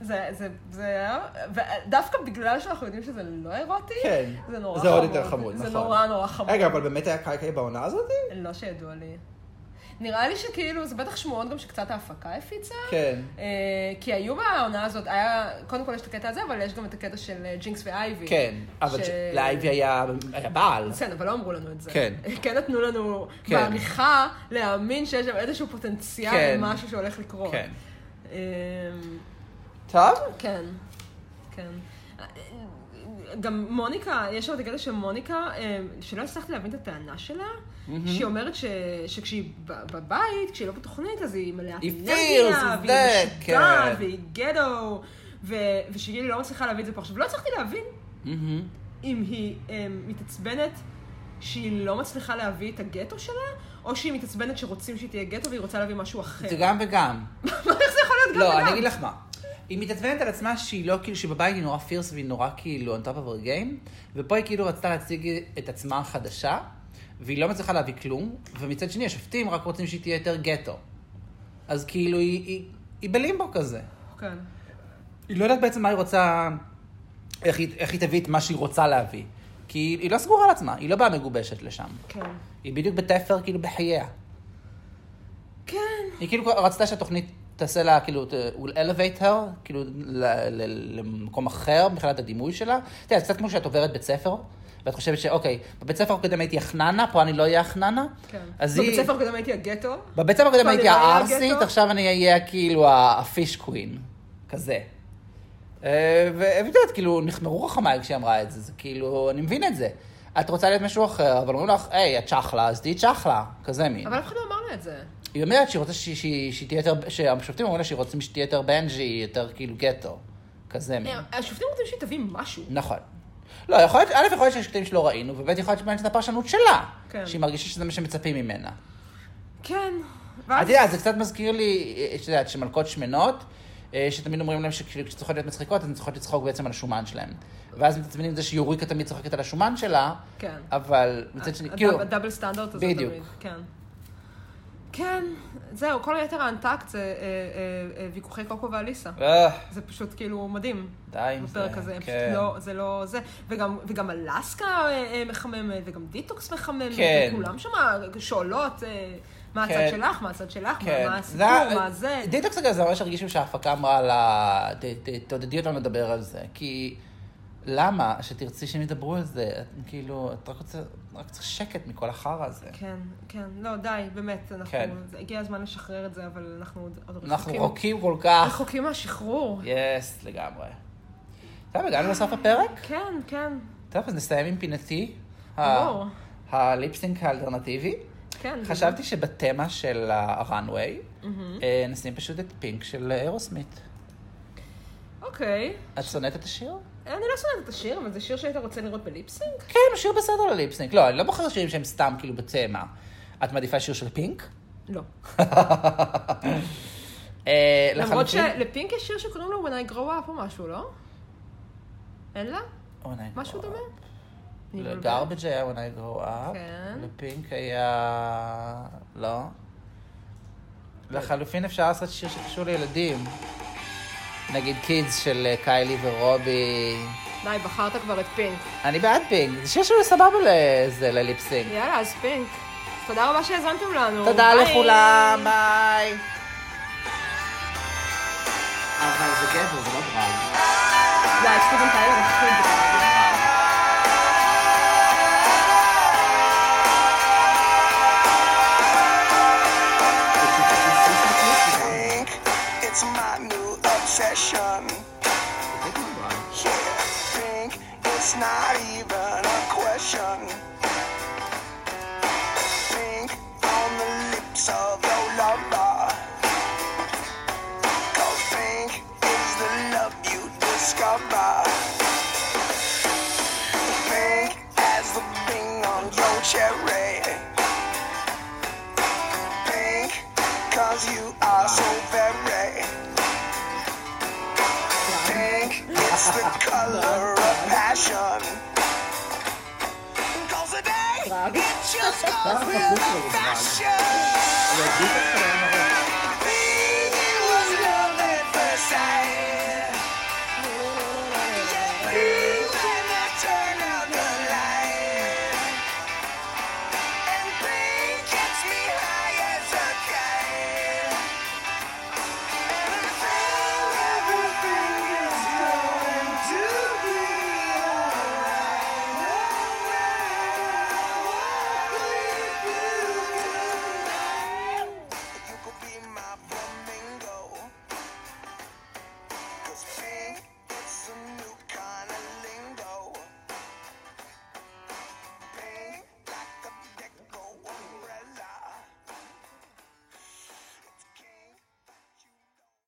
זה, זה, זה היה, ודווקא בגלל שאנחנו יודעים שזה לא אירוטי, כן. זה נורא זה חמוד. עוד יותר חמוד, זה נכון. נורא נורא חמוד. רגע, אבל באמת היה קאי קאי בעונה הזאת? לא שידוע לי. נראה לי שכאילו, זה בטח שמועות גם שקצת ההפקה הפיצה. כן. אה, כי היו בעונה הזאת, היה, קודם כל יש את הקטע הזה, אבל יש גם את הקטע של אה, ג'ינקס ואייבי. כן, אבל ש- לאייבי היה היה בעל. בסדר, אבל לא אמרו לנו את זה. כן. כן נתנו לנו כן. בעריכה להאמין שיש שם איזשהו פוטנציאל כן. למשהו שהולך לקרות. כן. אמ, טוב? כן, כן. גם מוניקה, יש שם את הקטע של מוניקה, אה, שלא הצלחתי להבין את הטענה שלה, שהיא אומרת ש, שכשהיא ב- בבית, כשהיא לא בתוכנית, אז היא מלאת She אנרגיה, feels והיא that, משוגעת, כן. והיא גטו, ו- ושהיא לא מצליחה להביא את זה פה. עכשיו, לא הצלחתי להבין אם היא אה, מתעצבנת שהיא לא מצליחה להביא את הגטו שלה, או שהיא מתעצבנת שרוצים שהיא תהיה גטו והיא רוצה להביא משהו אחר. זה גם וגם. איך זה יכול להיות גם לא, וגם? אני אגיד לך מה. היא מתעצבנת על עצמה שהיא לא, כאילו, שבבית היא נורא פירס והיא נורא כאילו on top of her game, ופה היא כאילו רצתה להציג את עצמה חדשה, והיא לא מצליחה להביא כלום, ומצד שני השופטים רק רוצים שהיא תהיה יותר גטו. אז כאילו היא, היא, היא בלימבו כזה. כן. היא לא יודעת בעצם מה היא רוצה, איך היא, איך היא תביא את מה שהיא רוצה להביא. כי היא, היא לא סגורה על עצמה, היא לא באה מגובשת לשם. כן. היא בדיוק בתפר, כאילו, בחייה. כן. היא כאילו רצתה שהתוכנית תעשה לה, כאילו, ת- will elevate her, כאילו, ל- ל- למקום אחר מבחינת הדימוי שלה. אתה יודע, זה קצת כמו שאת עוברת בית ספר, ואת חושבת שאוקיי, בבית ספר הקודם הייתי החננה, פה אני לא אהיה החננה. כן. אז היא... בבית ספר הקודם הייתי הגטו. בבית ספר הקודם פה אני הייתי לא אהיה הערסית, הגטו. עכשיו אני אהיה כאילו ה- הפיש קווין, כזה. אה, ו- ואת יודעת, כאילו, נחמרו חכמיי כשהיא אמרה את זה, זה כאילו, אני מבין את זה. את רוצה להיות משהו אחר, אבל אומרים לך, היי, את צ'חלה, אז תהיי צ'חלה, כזה מין. אבל אף אחד לא אמר לה את זה. היא אומרת שהיא רוצה שהיא- שהיא שהיא תהיה יותר, שהשופטים אומרים לה שהיא רוצים שתהיה יותר בנג'י, יותר כאילו גטו, כזה לא. מין. אה, השופטים רוצים שהיא תביא משהו. נכון. לא, יכול להיות, א', יכול להיות שיש שופטים שלא ראינו, וב', יכול להיות שזו הפרשנות שלה. כן. שהיא מרגישה שזה מה שמצפים ממנה. כן. את יודעת, זה קצת מזכיר לי, אה, את יודעת, שמלכות שמנות, אה, שתמיד אומרים להם שכאילו כשצריכות להיות מצחיקות, אז הן צריכות לצחוק בעצם על השומן שלהם. ואז מתעצבנים עם זה שיוריקה תמיד צוחקת על השומן שלה, כן. אבל מצד שני, אה, כאילו, הדאבל סטנדרט הזה בדיוק. תמיד. כן. כן, זהו, כל היתר האנטקט זה אה, אה, אה, ויכוחי קוקו ואליסה. אה, זה פשוט כאילו מדהים. די עם זה, בפרק הזה, הם פשוט כן. לא, זה לא זה. וגם, וגם אה, אלסקה אה, אה, מחממת, וגם דיטוקס מחממת, כן. וכולם שם שואלות אה, מה הצד כן. שלך, מה הצד שלך, מה- כן. מה ה- הסיפור, מה זה. די דווקא זה ממש הרגישו שההפקה אמרה לה, "ת- ת- תעודדי אותנו לדבר על זה, כי למה שתרצי שהם ידברו על זה? את- כאילו, את רק רוצה, רק צריך שקט מכל החרא הזה. כן, כן, לא, די, באמת, אנחנו, כן. זה- הגיע הזמן לשחרר את זה, אבל אנחנו עוד עוד רחוקים. אנחנו רוקים כל כך. רחוקים מהשחרור. יס, לגמרי. טוב, הגענו לסוף הפרק? כן, כן, טוב, אז נסיים עם פינתי. ה- ברור. הליפסינק האלטרנטיבי. כן. חשבתי שבתמה של הראנוויי, Mhm. נשים פשוט את פינק של אירוסמית. אוקיי. את שונאת את השיר? אני לא שונאת את השיר, אבל זה שיר שהיית רוצה לראות בליפסינג? כן, שיר בסדר לליפסינק. לא, אני לא בוחרת שירים שהם סתם כאילו בצמא. את מעדיפה שיר של פינק? לא. אה, לחלוטין. למרות שלפינק יש שיר שקוראים לו When I Grow Up או משהו, לא? אין לה? Oh, no. משהו דומה? אני מבולבלת. לגרבג' היה When I Grow Up. כן. לפינק היה... לא. לחלופין אפשר לעשות שיר שקשור לילדים. נגיד קידס של אה, קיילי ורובי. די, בחרת כבר את פינק. אני בעד פינק. זה שיר שהוא סבבה לזה, לליפסינג. יאללה, אז פינק. תודה רבה שהאזנתם לנו. תודה ביי. לכולם, ביי. אבל זה גבר, זה לא דרג. די, סטיבן טיילר, הכי גדול. think it's my new obsession. Yeah, think it's not even a question. Think on the lips of your lover. 'Cause think is the love you discover. Think as the thing on your cherry pink Cause you are so very pink It's the color of passion Cause today it just goes with the fashion Pink, it was love at first sight